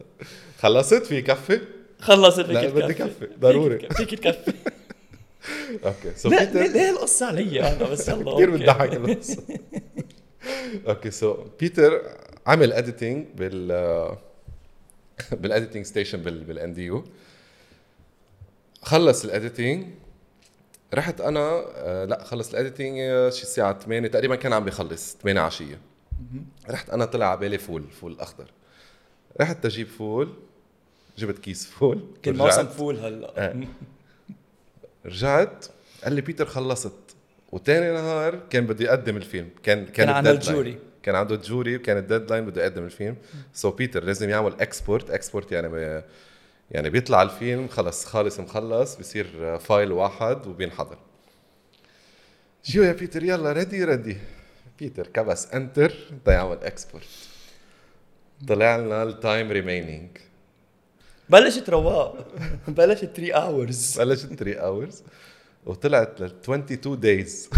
[SPEAKER 1] خلصت في كفي
[SPEAKER 2] خلصت فيك
[SPEAKER 1] لا،
[SPEAKER 2] تكفي
[SPEAKER 1] بدي كفي، ضروري.
[SPEAKER 2] فيك- فيك تكفي
[SPEAKER 1] اوكي سو
[SPEAKER 2] لا ليه-
[SPEAKER 1] بيتر
[SPEAKER 2] ليه القصه علي انا بس يلا
[SPEAKER 1] كثير
[SPEAKER 2] أوكي.
[SPEAKER 1] بتضحك القصه اوكي سو بيتر عمل اديتنج بال بالاديتنج ستيشن بال بالان دي يو خلص الاديتنج رحت انا آه، لا خلص الاديتنج آه، شي الساعه 8 تقريبا كان عم بيخلص 8 عشيه رحت انا طلع على بالي فول فول اخضر رحت تجيب فول جبت كيس فول
[SPEAKER 2] كان
[SPEAKER 1] ورجعت.
[SPEAKER 2] موسم فول هلا
[SPEAKER 1] إيه. رجعت قال لي بيتر خلصت وتاني نهار كان بده يقدم الفيلم كان كان,
[SPEAKER 2] كان عنده
[SPEAKER 1] الdeadline.
[SPEAKER 2] الجوري.
[SPEAKER 1] كان عنده الجوري وكان الديدلاين بده يقدم الفيلم سو so بيتر لازم يعمل اكسبورت اكسبورت يعني ب... يعني بيطلع الفيلم خلص خالص مخلص بصير فايل واحد وبينحضر شو يا بيتر يلا ريدي ريدي بيتر كبس انتر بده يعمل اكسبورت طلع لنا التايم ريمينينج
[SPEAKER 2] بلشت رواق بلشت 3 اورز
[SPEAKER 1] بلشت 3 اورز وطلعت لل 22 دايز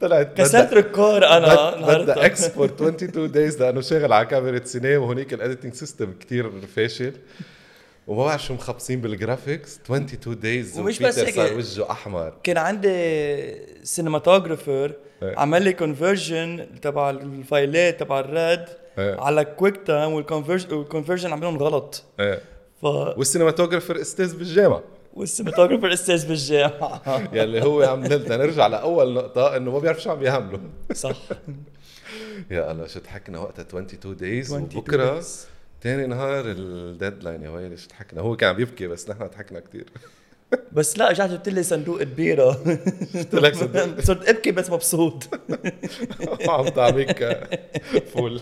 [SPEAKER 1] طلعت
[SPEAKER 2] كسرت ركور انا
[SPEAKER 1] بدها
[SPEAKER 2] نهارتها
[SPEAKER 1] اكسبورت 22 دايز لانه شاغل على كاميرا سينما وهونيك الايديتنج سيستم كتير فاشل وما بعرف شو مخبصين بالجرافيكس 22 دايز
[SPEAKER 2] ومش بس هيك.
[SPEAKER 1] صار وجهه احمر
[SPEAKER 2] كان عندي سينماتوجرافر
[SPEAKER 1] إيه.
[SPEAKER 2] عمل لي كونفرجن تبع الفايلات تبع الريد
[SPEAKER 1] إيه.
[SPEAKER 2] على كويك تايم والكونفرجن والكونفرجن عملهم غلط
[SPEAKER 1] إيه.
[SPEAKER 2] ف
[SPEAKER 1] والسينماتوجرافر استاذ بالجامعه
[SPEAKER 2] والسينماتوجرافر استاذ بالجامعه
[SPEAKER 1] يلي هو عم بدنا نرجع لاول نقطه انه ما بيعرف شو عم يعملوا
[SPEAKER 2] صح
[SPEAKER 1] يا الله شو ضحكنا وقتها 22 دايز
[SPEAKER 2] 22
[SPEAKER 1] وبكره
[SPEAKER 2] days.
[SPEAKER 1] تاني نهار الديدلاين يا ويلي شو ضحكنا هو كان عم يبكي بس نحن ضحكنا كثير
[SPEAKER 2] بس لا رجعت جبت لي صندوق كبيره
[SPEAKER 1] قلت لك صدق
[SPEAKER 2] صرت ابكي بس مبسوط
[SPEAKER 1] عم تعميك فول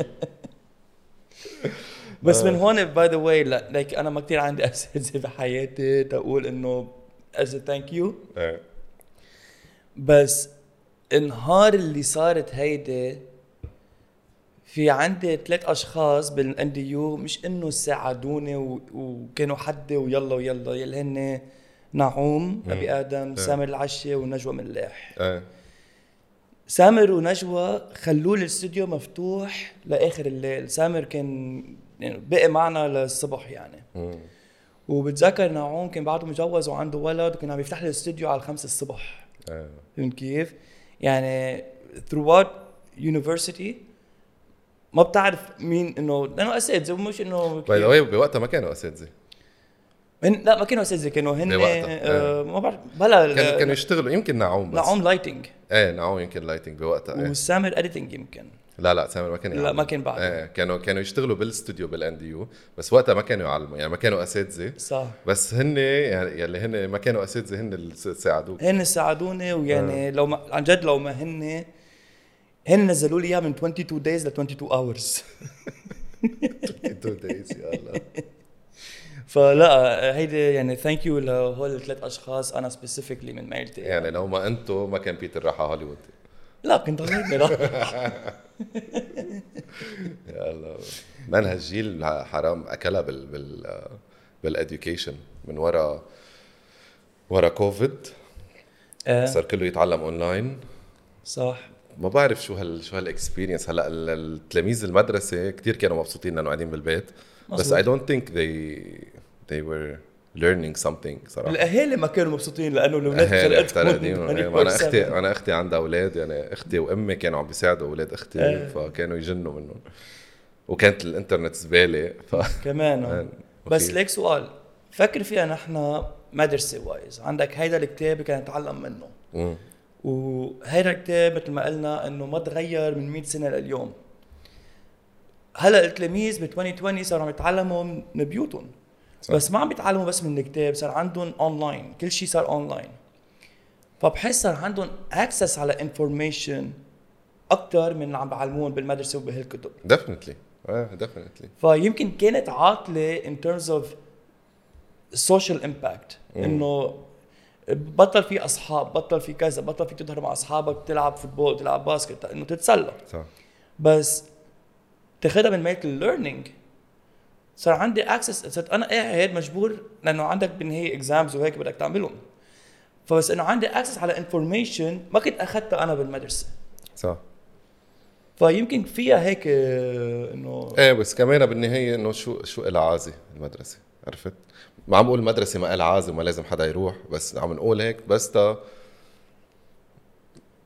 [SPEAKER 2] بس من هون باي ذا واي لايك انا ما كثير عندي اساتذه بحياتي تقول انه از ثانك يو
[SPEAKER 1] إيه.
[SPEAKER 2] بس النهار اللي صارت هيدي في عندي ثلاث اشخاص بالان دي يو مش انه ساعدوني و... وكانوا حدي ويلا ويلا يلي هن نعوم ابي ادم سامر العشي ونجوى ملاح
[SPEAKER 1] إيه.
[SPEAKER 2] سامر ونجوى خلوا لي الاستوديو مفتوح لاخر الليل سامر كان يعني بقي معنا للصبح يعني
[SPEAKER 1] مم.
[SPEAKER 2] وبتذكر نعوم كان بعده مجوز وعنده ولد وكان عم يفتح لي الاستوديو على الخمسة الصبح
[SPEAKER 1] إيه.
[SPEAKER 2] فهمت كيف؟ يعني throughout university ما بتعرف مين انه لانه اساتذه ومش انه
[SPEAKER 1] باي ذا
[SPEAKER 2] كتير.
[SPEAKER 1] واي بوقتها ما كانوا اساتذه
[SPEAKER 2] هن لا ما كانوا اساتذه كانوا هن
[SPEAKER 1] بوقتها،
[SPEAKER 2] آه ما بعرف بلا
[SPEAKER 1] كانوا كانوا يشتغلوا يمكن نعوم بس
[SPEAKER 2] آه، نعوم لايتنج
[SPEAKER 1] ايه نعوم يمكن لايتنج بوقتها ايه
[SPEAKER 2] وسامر اديتنج يمكن
[SPEAKER 1] لا لا سامر ما كان
[SPEAKER 2] لا،
[SPEAKER 1] يعلم.
[SPEAKER 2] ما كان بعد.
[SPEAKER 1] ايه كانوا كانوا يشتغلوا بالاستوديو بالان دي يو بس وقتها ما كانوا يعلموا يعني ما كانوا اساتذه
[SPEAKER 2] صح
[SPEAKER 1] بس هن يعني يلي هن ما كانوا اساتذه هن اللي س- ساعدوك
[SPEAKER 2] هن ساعدوني ويعني لو ما عن جد لو ما هن هن نزلوا لي اياها من 22 دايز ل 22 اورز
[SPEAKER 1] 22 days يا الله
[SPEAKER 2] فلا هيدي يعني ثانك يو لهول الثلاث اشخاص انا سبيسيفيكلي من ميلتي
[SPEAKER 1] يعني لو ما انتو ما كان بيتر راح على هوليوود
[SPEAKER 2] لا كنت ضليتني لا
[SPEAKER 1] يا الله من هالجيل حرام اكلها بال بال بالاديوكيشن من ورا ورا كوفيد
[SPEAKER 2] آه،
[SPEAKER 1] صار كله يتعلم اونلاين
[SPEAKER 2] صح
[SPEAKER 1] ما بعرف شو هال شو هالاكسبيرينس هلا ال- التلاميذ المدرسه كثير كانوا مبسوطين لانه قاعدين بالبيت بس
[SPEAKER 2] مظبوط.
[SPEAKER 1] اي دونت ثينك they they were learning something صراحه
[SPEAKER 2] الاهالي ما كانوا مبسوطين لانه الاولاد
[SPEAKER 1] أهالي إيه، يعني اختلقوا
[SPEAKER 2] خلقتهم
[SPEAKER 1] انا
[SPEAKER 2] 24/7.
[SPEAKER 1] اختي انا اختي عندها اولاد يعني اختي وامي كانوا عم بيساعدوا اولاد اختي
[SPEAKER 2] إيه.
[SPEAKER 1] فكانوا يجنوا منهم وكانت الانترنت زباله ف
[SPEAKER 2] كمان بس
[SPEAKER 1] أه، أوكي.
[SPEAKER 2] ليك سؤال فكر فيها نحن مدرسه وايز عندك هيدا الكتاب كان نتعلم منه
[SPEAKER 1] مم.
[SPEAKER 2] وهيدا الكتاب مثل ما قلنا انه ما تغير من 100 سنه لليوم هلا التلاميذ ب 2020 صاروا عم يتعلموا من بيوتهم
[SPEAKER 1] صح.
[SPEAKER 2] بس ما عم يتعلموا بس من الكتاب صار عندهم اونلاين كل شيء صار اونلاين فبحس صار عندهم اكسس على انفورميشن اكثر من اللي عم بعلمون بالمدرسه وبهالكتب
[SPEAKER 1] ديفنتلي اه ديفنتلي
[SPEAKER 2] فيمكن كانت عاطله in terms of social impact انه بطل في اصحاب بطل في كذا بطل في تظهر مع اصحابك تلعب فوتبول تلعب باسكت انه تتسلى
[SPEAKER 1] صح
[SPEAKER 2] بس تاخذها من ميت الليرنينج صار عندي اكسس صرت انا قاعد مجبور لانه عندك بالنهايه اكزامز وهيك بدك تعملهم فبس انه عندي اكسس على انفورميشن ما كنت اخذتها انا بالمدرسه
[SPEAKER 1] صح
[SPEAKER 2] فيمكن فيها هيك آه، انه
[SPEAKER 1] ايه بس كمان بالنهايه انه شو شو لها عازه المدرسه عرفت؟ ما عم بقول المدرسه ما لها عازه وما لازم حدا يروح بس عم نقول هيك بس تا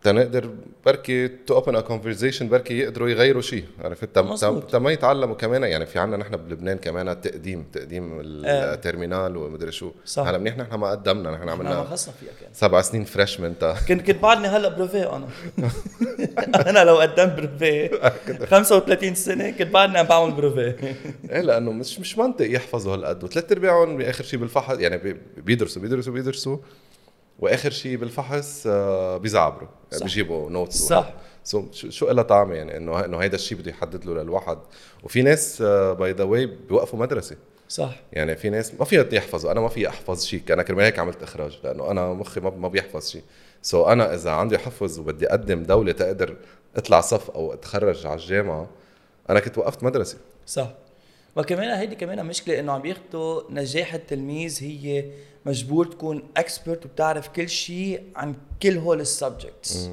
[SPEAKER 1] تنقدر بركي تو اوبن ا كونفرزيشن بركي يقدروا يغيروا شيء عرفت تا- تا
[SPEAKER 2] مظبوط.
[SPEAKER 1] تا ما يتعلموا كمان يعني في عنا نحن بلبنان كمان تقديم تقديم ال-
[SPEAKER 2] آه.
[SPEAKER 1] الترمينال ومدري شو
[SPEAKER 2] صح.
[SPEAKER 1] هلا منيح نحن ما قدمنا نحن
[SPEAKER 2] أنا ما
[SPEAKER 1] عملنا
[SPEAKER 2] خصنا فيها كان
[SPEAKER 1] سبع سنين فريشمان تا
[SPEAKER 2] كنت كنت بعدني هلا بريفيه انا انا لو قدمت بريفيه 35 سنه كنت بعدني عم بعمل بريفيه
[SPEAKER 1] ايه لانه مش مش منطق يحفظوا هالقد وثلاث ارباعهم باخر شيء بالفحص يعني بي- بيدرسوا بيدرسوا بيدرسوا واخر شيء بالفحص آه، بيزعبروا يعني
[SPEAKER 2] صح.
[SPEAKER 1] بيجيبوا نوتس
[SPEAKER 2] صح.
[SPEAKER 1] سو شو شو لها طعمه يعني انه انه هيدا الشيء بده يحدد له للواحد وفي ناس آه، باي ذا واي بيوقفوا مدرسه
[SPEAKER 2] صح
[SPEAKER 1] يعني في ناس ما فيها يحفظوا انا ما في احفظ شيء انا كرمال هيك عملت اخراج لانه انا مخي ما- ما بيحفظ شيء سو so انا اذا عندي حفظ وبدي اقدم دوله تقدر اطلع صف او اتخرج على الجامعه انا كنت وقفت مدرسه
[SPEAKER 2] صح وكمان هيدي كمان مشكله انه عم ياخذوا نجاح التلميذ هي مجبور تكون اكسبرت وبتعرف كل شيء عن كل هول السبجكتس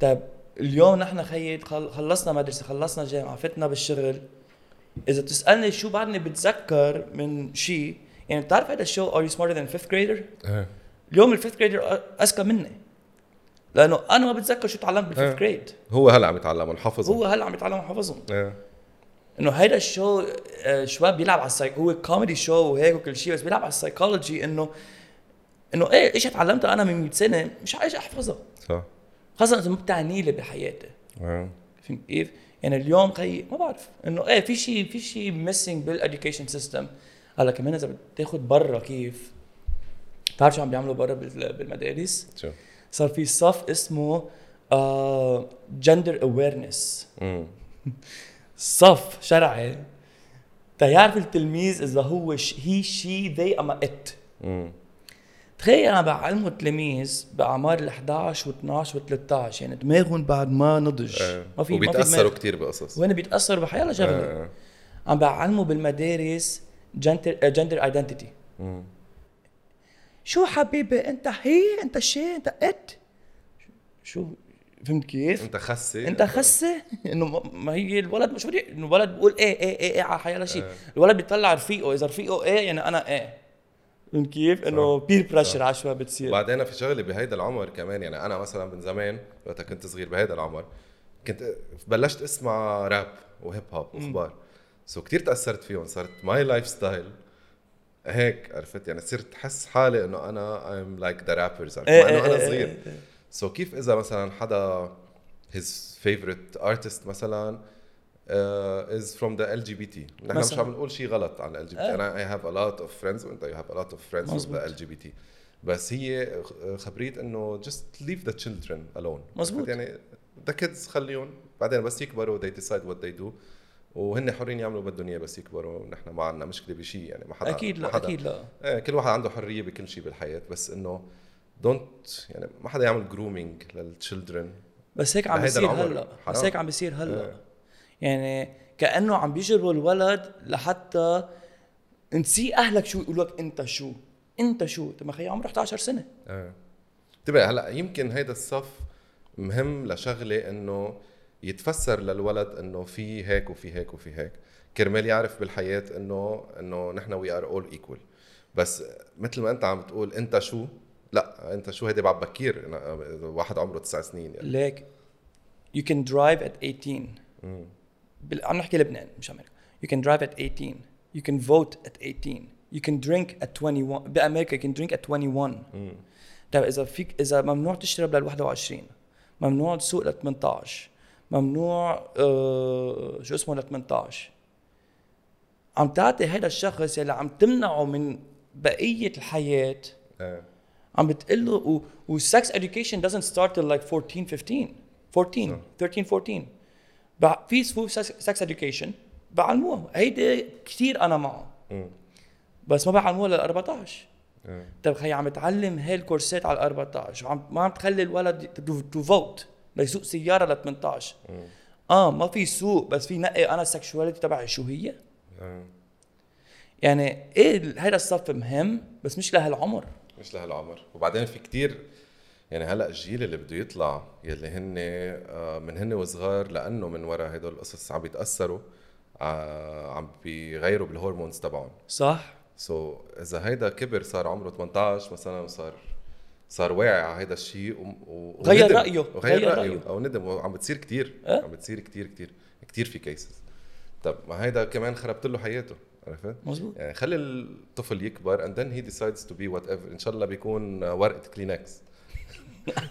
[SPEAKER 2] طيب اليوم نحن خيط خل- خلصنا مدرسه خلصنا جامعه فتنا بالشغل اذا بتسالني شو بعدني بتذكر من شيء يعني بتعرف هذا الشو ار يو سمارتر ذان فيفث جريدر
[SPEAKER 1] إيه.
[SPEAKER 2] اليوم الفيفث جريدر اذكى مني لانه انا ما بتذكر شو تعلمت
[SPEAKER 1] إيه.
[SPEAKER 2] بالفيفث جريد
[SPEAKER 1] هو هلا عم يتعلم حفظه
[SPEAKER 2] هو هلا عم يتعلم وحافظهم
[SPEAKER 1] ايه
[SPEAKER 2] انه هيدا الشو آه، شوي بيلعب على السايك هو كوميدي شو وهيك وكل شيء بس بيلعب على السايكولوجي انه انه ايه ايش تعلمتها انا من 100 سنه مش عايش احفظها
[SPEAKER 1] صح
[SPEAKER 2] خاصه اذا ما بتعني لي بحياتي
[SPEAKER 1] إيه.
[SPEAKER 2] فهمت كيف؟ يعني اليوم خي ما بعرف انه ايه في شيء في شيء ميسنج بالاديوكيشن سيستم هلا كمان اذا بتاخذ برا كيف بتعرف شو عم بيعملوا برا بال- بالمدارس؟
[SPEAKER 1] شو
[SPEAKER 2] صار في صف اسمه آه، جندر اويرنس
[SPEAKER 1] امم
[SPEAKER 2] صف شرعي تيعرف التلميذ اذا هو هي شي ذي اما ات
[SPEAKER 1] امم
[SPEAKER 2] تخيل انا بعلمه التلاميذ باعمار ال 11 و12 و13 يعني دماغهم بعد ما نضج
[SPEAKER 1] إيه.
[SPEAKER 2] ما في ما في
[SPEAKER 1] وبيتاثروا
[SPEAKER 2] دماغ.
[SPEAKER 1] كثير بقصص
[SPEAKER 2] وين بيتاثروا بحيالله شغله
[SPEAKER 1] إيه.
[SPEAKER 2] عم بعلمه بالمدارس جندر آه، جندر ايدنتيتي
[SPEAKER 1] مم.
[SPEAKER 2] شو حبيبي انت هي انت شي انت ات شو فهمت كيف؟
[SPEAKER 1] انت خسي
[SPEAKER 2] انت خسه انه ما- ما هي الولد مش بدي انه الولد بيقول ايه ايه ايه, إيه على حيالله شيء
[SPEAKER 1] آه.
[SPEAKER 2] الولد بيطلع رفيقه اذا رفيقه ايه يعني انا ايه فهمت كيف؟ انه بير بريشر عشوائي بتصير
[SPEAKER 1] وبعدين في شغله بهيدا العمر كمان يعني انا مثلا من زمان وقتها كنت صغير بهيدا العمر كنت بلشت اسمع راب وهيب هوب واخبار سو كثير تاثرت فيهم صارت ماي لايف ستايل هيك عرفت يعني صرت احس حالي انه انا ايم لايك ذا رابرز عرفت
[SPEAKER 2] إيه
[SPEAKER 1] مع انه
[SPEAKER 2] إيه
[SPEAKER 1] انا
[SPEAKER 2] إيه
[SPEAKER 1] صغير
[SPEAKER 2] إيه إيه.
[SPEAKER 1] سو كيف اذا مثلا حدا his favorite artist مثلا uh, is from the LGBT نحن مش
[SPEAKER 2] مثلاً.
[SPEAKER 1] عم نقول شيء غلط عن ال LGBT
[SPEAKER 2] إيه.
[SPEAKER 1] انا I have a lot of friends وانت you have a lot of friends from
[SPEAKER 2] مزبوط.
[SPEAKER 1] the LGBT بس هي خبريت انه just leave the children alone
[SPEAKER 2] مزبوط.
[SPEAKER 1] يعني the kids خليهم بعدين بس يكبروا they decide what they do وهن حرين يعملوا بدهم اياه بس يكبروا نحن ما عندنا مشكله بشيء يعني ما حدا
[SPEAKER 2] اكيد
[SPEAKER 1] ما
[SPEAKER 2] لا
[SPEAKER 1] حدا
[SPEAKER 2] اكيد لا
[SPEAKER 1] ايه كل واحد عنده حريه بكل شيء بالحياه بس انه دونت يعني ما حدا يعمل جرومينج للتشيلدرن
[SPEAKER 2] بس هيك عم
[SPEAKER 1] لهيدا
[SPEAKER 2] بيصير
[SPEAKER 1] العمر.
[SPEAKER 2] هلا
[SPEAKER 1] حرام.
[SPEAKER 2] بس هيك عم بيصير هلا
[SPEAKER 1] إيه.
[SPEAKER 2] يعني كانه عم بيجروا الولد لحتى نسي اهلك شو يقولوا لك انت شو انت شو طب ما خي عمره 11 سنه
[SPEAKER 1] ايه انتبه هلا يمكن هيدا الصف مهم لشغله انه يتفسر للولد انه في هيك وفي هيك وفي هيك كرمال يعرف بالحياه انه انه نحن وي ار اول ايكول بس مثل ما انت عم تقول انت شو لا انت شو هيدي بعد بكير أنا- واحد عمره تسع سنين يعني
[SPEAKER 2] ليك يو كان درايف ات 18 بال... عم نحكي لبنان مش امريكا يو كان درايف ات 18 يو كان فوت ات 18 يو كان درينك ات 21 بامريكا يو كان درينك ات 21 طيب اذا فيك اذا ممنوع تشرب لل 21 ممنوع تسوق لل 18 ممنوع آه... شو اسمه لل 18 عم تعطي هذا الشخص يلي عم تمنعه من بقيه الحياه
[SPEAKER 1] ايه
[SPEAKER 2] عم بتقول له و, و sex education doesn't start till like 14 15 14 13 14 بع- في سفو sex education بعلموها هيدي كثير انا معه
[SPEAKER 1] مم.
[SPEAKER 2] بس ما بعلموها لل 14
[SPEAKER 1] إيه.
[SPEAKER 2] طيب خي عم تعلم هاي الكورسات على 14 وعم ما عم تخلي الولد تو فوت ليسوق سياره ل 18 اه ما في سوق بس في نقي انا السكشواليتي تبعي شو هي
[SPEAKER 1] إيه.
[SPEAKER 2] يعني ايه هذا الصف مهم بس مش لهالعمر
[SPEAKER 1] مش لهالعمر وبعدين في كتير يعني هلا الجيل اللي بده يطلع يلي هن آه، من هن وصغار لانه من وراء هدول القصص عم بيتاثروا آه، عم بيغيروا بالهرمونز تبعهم
[SPEAKER 2] صح
[SPEAKER 1] سو so, اذا هيدا كبر صار عمره 18 مثلا صار صار واعي على هيدا الشيء و... و...
[SPEAKER 2] غير
[SPEAKER 1] وندم.
[SPEAKER 2] رأيه،
[SPEAKER 1] غير
[SPEAKER 2] غير
[SPEAKER 1] رأيه.
[SPEAKER 2] رأيه.
[SPEAKER 1] او ندم وعم بتصير كتير
[SPEAKER 2] أه؟
[SPEAKER 1] عم بتصير كتير كتير كتير في كيسز طب ما هيدا كمان خربت له حياته عرفت؟
[SPEAKER 2] مزبوط
[SPEAKER 1] يعني خلي الطفل يكبر and then he decides to be whatever ان شاء الله بيكون ورقه كلينكس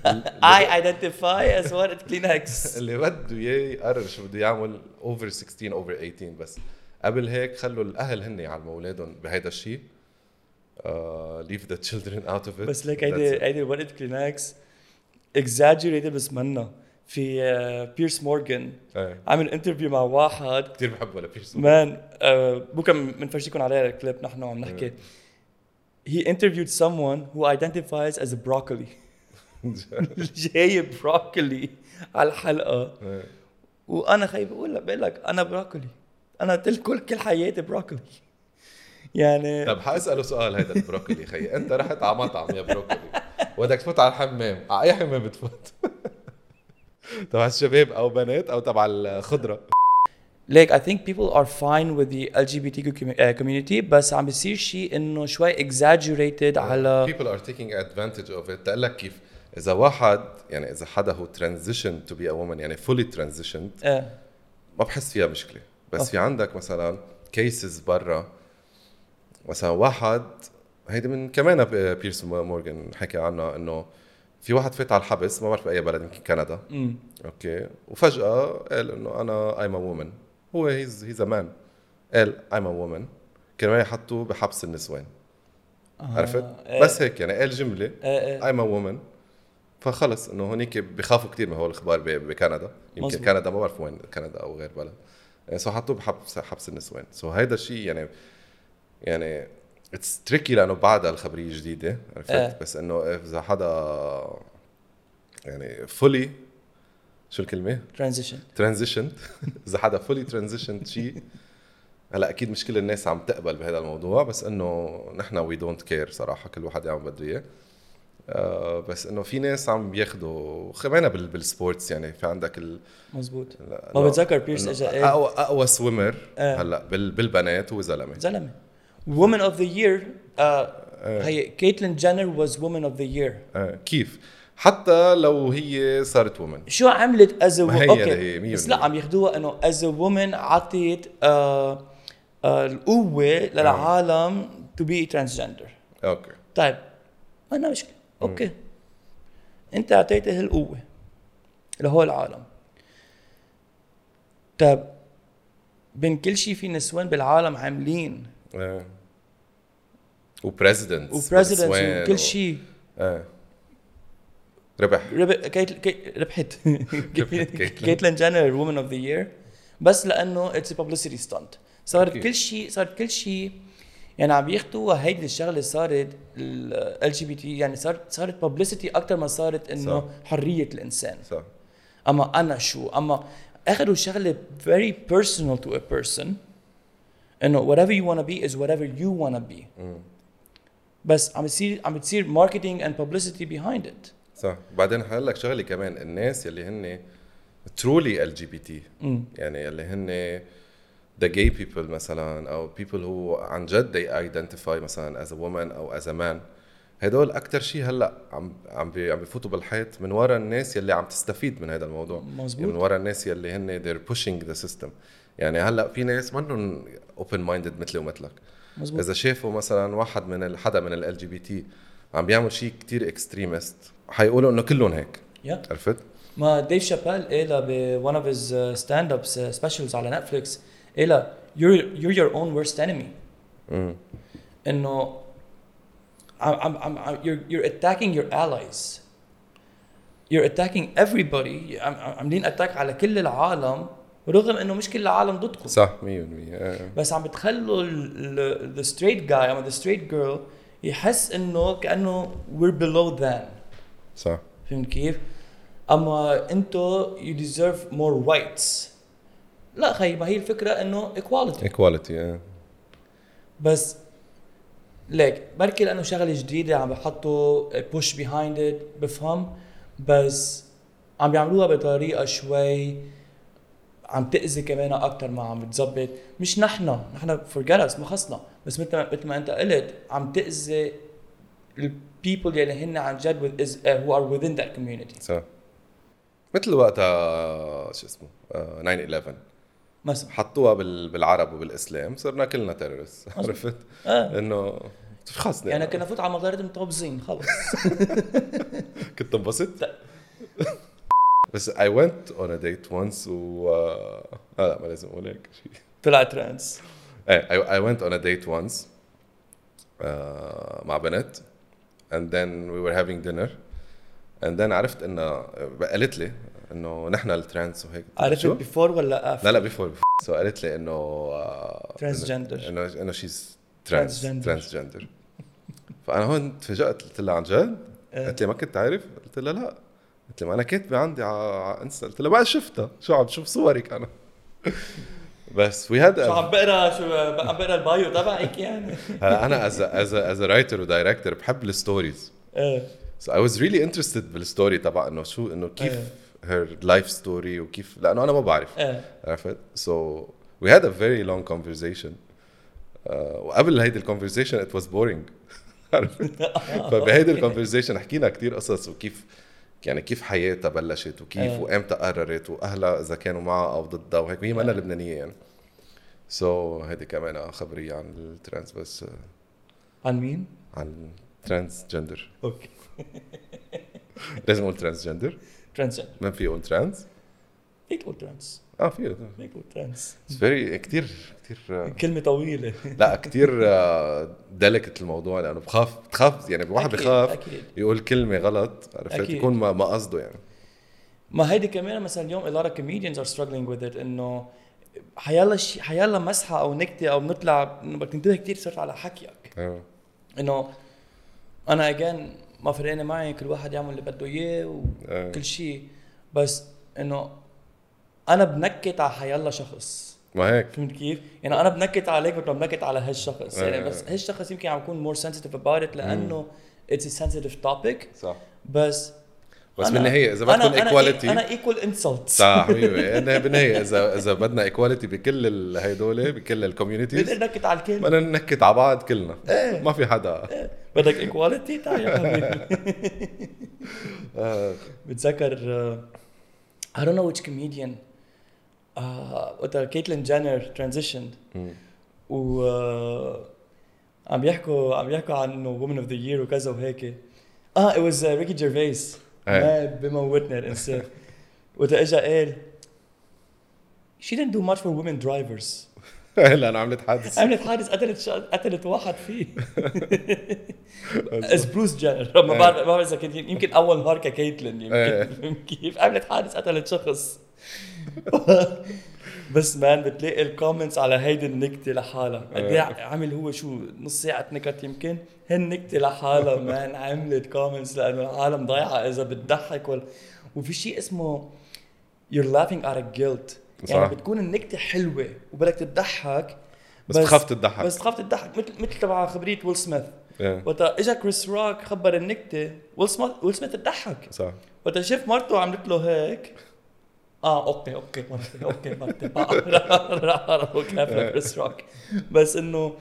[SPEAKER 1] يعني
[SPEAKER 2] I identify as one at Kleenex.
[SPEAKER 1] اللي بده اياه يقرر شو بده يعمل اوفر 16 اوفر 18 بس قبل هيك خلوا الاهل هن يعلموا اولادهم بهيدا الشيء uh, leave the children out of it
[SPEAKER 2] بس ليك
[SPEAKER 1] That's
[SPEAKER 2] هيدي
[SPEAKER 1] it.
[SPEAKER 2] هيدي ورقة كلينكس exaggerated بس منا في آه، بيرس مورغان
[SPEAKER 1] إيه.
[SPEAKER 2] عامل انترفيو مع واحد
[SPEAKER 1] كثير بحبه لبيرسون
[SPEAKER 2] مان آه، بكره بنفرجيكم عليه الكليب نحن عم نحكي he interviewed someone who identifies as a broccoli جاي بروكلي على الحلقه
[SPEAKER 1] إيه.
[SPEAKER 2] وانا خي بقول لك بقول لك انا بروكلي انا تل- كل كل حياتي بروكلي يعني
[SPEAKER 1] طب حاساله سؤال هيدا البروكلي خي انت رحت على مطعم يا بروكلي وبدك تفوت على الحمام على اي حمام بتفوت تبع الشباب او بنات او تبع الخضره
[SPEAKER 2] ليك اي ثينك بيبل ار فاين وذ ذا ال جي بي تي كوميونتي بس عم بيصير شيء انه شوي اكزاجريتد على
[SPEAKER 1] people are taking advantage of it تقلك كيف اذا واحد يعني اذا حدا هو transition to be a woman يعني fully transitioned
[SPEAKER 2] إيه.
[SPEAKER 1] ما بحس فيها مشكله بس في عندك مثلا كيسز برا مثلا واحد هيدي من كمان ب- بيرس مورجان حكى عنها انه في واحد فات على الحبس ما بعرف باي بلد يمكن كندا
[SPEAKER 2] أمم.
[SPEAKER 1] اوكي وفجاه قال انه انا ايم ا وومن هو هيز هيز ا مان قال ايم ا وومن كانوا يحطوه بحبس النسوان عرفت؟
[SPEAKER 2] إيه.
[SPEAKER 1] بس هيك يعني قال جمله
[SPEAKER 2] إيه إيه.
[SPEAKER 1] ايم ا وومن فخلص انه هونيك بخافوا كثير من هول الاخبار ب- بكندا يمكن
[SPEAKER 2] مظبوط.
[SPEAKER 1] مزبوط. كندا ما بعرف وين كندا او غير بلد سو حطوه بحبس حبس النسوان سو هيدا الشيء يعني يعني اتس تريكي لانه بعدها الخبريه جديده عرفت
[SPEAKER 2] إيه.
[SPEAKER 1] بس انه اذا حدا يعني فولي شو الكلمه؟
[SPEAKER 2] ترانزيشن
[SPEAKER 1] ترانزيشنت اذا حدا فولي ترانزيشنت شيء هلا اكيد مش كل الناس عم تقبل بهذا الموضوع بس انه نحن وي دونت كير صراحه كل واحد يعمل بده اياه آه، بس انه في ناس عم بياخذوا كمان بال- بالسبورتس يعني في عندك ال...
[SPEAKER 2] مزبوط
[SPEAKER 1] لا-
[SPEAKER 2] ما
[SPEAKER 1] لا-
[SPEAKER 2] بتذكر بيرس
[SPEAKER 1] إنه
[SPEAKER 2] اجى قال
[SPEAKER 1] اقوى اقوى سويمر
[SPEAKER 2] آه.
[SPEAKER 1] هلا بال... بالبنات هو زلمه
[SPEAKER 2] زلمه وومن اوف ذا يير هي كيتلين جينر واز وومن اوف ذا يير
[SPEAKER 1] آه، كيف حتى لو هي صارت وومن
[SPEAKER 2] شو عملت از
[SPEAKER 1] ما هي
[SPEAKER 2] اوكي
[SPEAKER 1] هي، مية
[SPEAKER 2] بس لا
[SPEAKER 1] بالمية.
[SPEAKER 2] عم ياخذوها انه از وومن عطيت آه، آه، القوه للعالم تو بي ترانسجندر
[SPEAKER 1] اوكي
[SPEAKER 2] طيب ما عندنا مشكله اوكي انت اعطيته هالقوه لهول العالم طيب بين كل شيء في نسوان بالعالم عاملين
[SPEAKER 1] آه. وبريزدنت
[SPEAKER 2] وبريزيدنتس وكل شيء
[SPEAKER 1] ايه ربح
[SPEAKER 2] رب- كيت- كي- ربحت
[SPEAKER 1] كيتلين.
[SPEAKER 2] كيتلين جينر وومن اوف ذا يير بس لانه اتس ببليستي ستانت صارت
[SPEAKER 1] أكيد.
[SPEAKER 2] كل شيء صارت كل شيء يعني عم ياخذوها هيدي الشغله صارت ال جي بي تي يعني صارت صارت ببليستي اكثر ما صارت
[SPEAKER 1] صح.
[SPEAKER 2] انه حريه الانسان
[SPEAKER 1] صح
[SPEAKER 2] اما انا شو اما اخذوا شغله very personal to a person انه whatever you wanna be is whatever you wanna be بس عم بتصير عم بتصير marketing and publicity behind it
[SPEAKER 1] صح بعدين هقول لك شغله كمان الناس يلي هن ترولي ال جي بي تي يعني يلي هن ذا جاي بيبل مثلا او بيبل هو عن جد they identify مثلا as a woman او as a man هدول اكثر شيء هلا عم عم بي عم بفوتوا بالحيط من ورا الناس يلي عم تستفيد من هذا الموضوع
[SPEAKER 2] مزبوط.
[SPEAKER 1] من ورا الناس يلي هن they're pushing the system يعني هلا في ناس منهم open minded مثلي ومثلك
[SPEAKER 2] مزبوط.
[SPEAKER 1] اذا شافوا مثلا واحد من ال- حدا من ال بي تي عم بيعمل شيء كتير اكستريمست حيقولوا انه كلهم هيك
[SPEAKER 2] yeah.
[SPEAKER 1] عرفت؟
[SPEAKER 2] ما ديف شابيل قالها ب one of his uh, stand ups uh, specials على نتفليكس قالها you're you're your own worst enemy انه I'm, I'm, I'm, I'm, you're, you're attacking your allies you're attacking everybody عم- عم- عاملين اتاك على كل العالم رغم انه مش كل العالم ضدكم
[SPEAKER 1] صح 100% آه.
[SPEAKER 2] بس عم بتخلوا ذا straight guy او the straight girl يحس انه كانه we're below them
[SPEAKER 1] صح
[SPEAKER 2] فهمت كيف؟ اما انتو يو ديزيرف مور رايتس لا خي ما هي الفكره انه ايكواليتي
[SPEAKER 1] ايكواليتي آه.
[SPEAKER 2] بس ليك بركي لانه شغله جديده عم بحطوا بوش بيهايند ات بفهم بس عم بيعملوها بطريقه شوي عم تاذي كمان اكثر ما عم بتظبط مش نحن نحن فورجيت ما خصنا بس مثل ما مثل ما انت قلت عم تاذي البيبل يلي هن عن جد with is, uh, who are within that community
[SPEAKER 1] صح مثل وقتها شو اسمه آه، 9/11
[SPEAKER 2] مثلا
[SPEAKER 1] حطوها بال... بالعرب وبالاسلام صرنا كلنا تيرورست
[SPEAKER 2] مظبوط.
[SPEAKER 1] عرفت؟
[SPEAKER 2] اه
[SPEAKER 1] انه خلص
[SPEAKER 2] يعني كنا فوت على مغارة مطبزين خلص
[SPEAKER 1] كنت انبسط بس I went on a date once و آه، لا ما لازم اقول هيك شيء
[SPEAKER 2] طلع ترانس
[SPEAKER 1] Hey, I, I went on a date once uh, مع بنت and then we were having dinner and then عرفت انه قالت لي انه نحن الترانس وهيك
[SPEAKER 2] عرفت
[SPEAKER 1] شو؟
[SPEAKER 2] بيفور ولا افتر؟
[SPEAKER 1] لا لا بيفور سو قالت لي انه uh,
[SPEAKER 2] Transgender.
[SPEAKER 1] انه انه شيز ترانس
[SPEAKER 2] Transgender.
[SPEAKER 1] ترانسجندر فانا هون تفاجات قلت لها عن جد؟
[SPEAKER 2] آه.
[SPEAKER 1] قالت لي ما كنت عارف؟ قلت لها لا قلت لي ما انا كاتبه عندي على انستا قلت لها ما شفتها شو عم شوف صورك انا بس وي هاد
[SPEAKER 2] شو عم بقرا شو عم بقرا البايو تبعك يعني
[SPEAKER 1] هلا انا از از از رايتر ودايركتور بحب الستوريز
[SPEAKER 2] ايه
[SPEAKER 1] سو اي واز ريلي انترستد بالستوري تبع انه شو انه كيف هير لايف ستوري وكيف لانه انا ما بعرف
[SPEAKER 2] إيه.
[SPEAKER 1] عرفت سو وي هاد ا فيري لونج كونفرزيشن آه، وقبل هيدي الكونفرزيشن ات واز بورينج عرفت
[SPEAKER 2] طيب،
[SPEAKER 1] فبهيدي الكونفرزيشن حكينا كتير قصص وكيف يعني كيف حياتها بلشت وكيف
[SPEAKER 2] إيه.
[SPEAKER 1] وامتى قررت واهلها اذا كانوا معها او ضدها وهيك وهي
[SPEAKER 2] آه.
[SPEAKER 1] منا لبنانيه يعني سو هيدي كمان خبريه عن الترانس بس آه،
[SPEAKER 2] عن مين؟
[SPEAKER 1] عن ترانس جندر
[SPEAKER 2] اوكي
[SPEAKER 1] لازم اقول ترانس جندر
[SPEAKER 2] ترانسجندر
[SPEAKER 1] ما في اقول ترانس
[SPEAKER 2] فيك تقول ترانس
[SPEAKER 1] اه في
[SPEAKER 2] فيك تقول ترانس
[SPEAKER 1] فيري كثير كثير
[SPEAKER 2] كلمة طويلة
[SPEAKER 1] لا كثير دلكت الموضوع لانه بخاف بتخاف يعني الواحد
[SPEAKER 2] أكيد،
[SPEAKER 1] بخاف
[SPEAKER 2] أكيد.
[SPEAKER 1] يقول كلمه غلط عرفت
[SPEAKER 2] أكيد.
[SPEAKER 1] يكون ما ما قصده يعني
[SPEAKER 2] ما هيدي كمان مثلا اليوم a lot of comedians are struggling with it انه حيلا شي حيلا مسحة او نكتة او بنطلع إنه بدك تنتبه كثير صرت على حكيك
[SPEAKER 1] أيوة.
[SPEAKER 2] انه انا اجان ما فرقانة معي كل واحد يعمل اللي بده اياه
[SPEAKER 1] آه.
[SPEAKER 2] وكل شيء بس انه انا بنكت على حيلا شخص
[SPEAKER 1] ما هيك
[SPEAKER 2] فهمت كيف؟ يعني انا بنكت عليك مثل ما بنكت على هالشخص يعني
[SPEAKER 1] آه.
[SPEAKER 2] بس هالشخص يمكن عم يكون مور سنسيتيف about it لانه اتس سنسيتيف توبيك
[SPEAKER 1] صح
[SPEAKER 2] بس
[SPEAKER 1] بس
[SPEAKER 2] أنا-
[SPEAKER 1] بالنهايه اذا بدكم
[SPEAKER 2] أنا-
[SPEAKER 1] ايكواليتي
[SPEAKER 2] انا ايكوال انسلت
[SPEAKER 1] صح حبيبي أنا بالنهايه اذا اذا بدنا ايكواليتي بكل ال- هيدول بكل
[SPEAKER 2] بدك
[SPEAKER 1] الكوميونيتيز
[SPEAKER 2] نكت على الكل
[SPEAKER 1] بدنا ننكت على بعض كلنا
[SPEAKER 2] إيه.
[SPEAKER 1] ما في حدا
[SPEAKER 2] بدك ايكواليتي تعال يا حبيبي
[SPEAKER 1] آه،
[SPEAKER 2] بتذكر uh, I don't know which comedian uh, وقتها كيتلين جينر transitioned
[SPEAKER 1] مم.
[SPEAKER 2] و uh, عم يحكوا عم يحكوا عن انه woman of the year وكذا وهيك اه it was uh, ريكي جيرفيس
[SPEAKER 1] إيه.
[SPEAKER 2] ما بموتنا الانسان وقتها اجى قال she didn't do much for women drivers
[SPEAKER 1] لانه إيه. عملت حادث
[SPEAKER 2] عملت حادث قتلت شا... قتلت واحد فيه از بروس جانر ما بعرف ما بعرف اذا كان يمكن اول نهار ككيتلين
[SPEAKER 1] إيه.
[SPEAKER 2] يمكن فهمت كيف عملت حادث قتلت شخص بس مان بتلاقي الكومنتس على هيدي النكته لحالها قد إيه عمل هو شو نص ساعه نكت يمكن هالنكته لحالها مان عملت كومنتس لانه العالم ضايعه اذا بتضحك ولا وفي شيء اسمه you're laughing at a guilt يعني
[SPEAKER 1] صح.
[SPEAKER 2] بتكون النكته حلوه وبدك تضحك
[SPEAKER 1] بس بتخاف تضحك.
[SPEAKER 2] بس تخاف تضحك مثل مثل تبع خبريه ويل سميث
[SPEAKER 1] إيه.
[SPEAKER 2] وقتها اجى كريس روك خبر النكته ويل سميث ويل سميث تضحك
[SPEAKER 1] صح
[SPEAKER 2] وقتها شاف مرته عملت له هيك اه اوكي اوكي مرتي اوكي مرتي بعرف بعرف وكافر كريس روك بس انه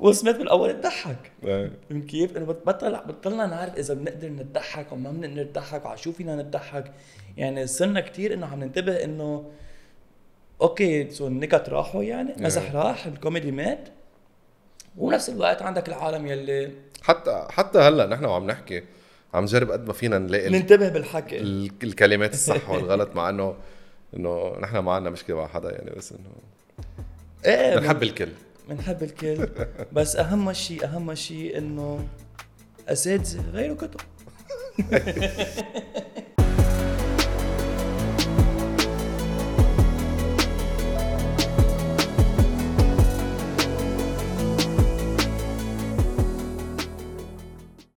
[SPEAKER 2] ويل سميث من الاول تضحك
[SPEAKER 1] إيه.
[SPEAKER 2] فهمت كيف؟ انه بطلع بطلنا نعرف اذا بنقدر نضحك او ما بنقدر نضحك وعلى شو فينا نضحك يعني صرنا كتير انه عم ننتبه انه اوكي سو النكت راحوا يعني مزح راح الكوميدي مات وبنفس الوقت عندك العالم يلي
[SPEAKER 1] حتى حتى هلا نحن وعم نحكي عم نجرب قد ما فينا نلاقي ال-
[SPEAKER 2] ننتبه بالحكي
[SPEAKER 1] ال- الكلمات الصح والغلط مع انه انه نحن ما عندنا مشكله مع حدا يعني بس انه
[SPEAKER 2] ايه
[SPEAKER 1] بنحب الكل
[SPEAKER 2] بنحب الكل بس اهم شيء اهم شيء انه اساتذه غيروا كتب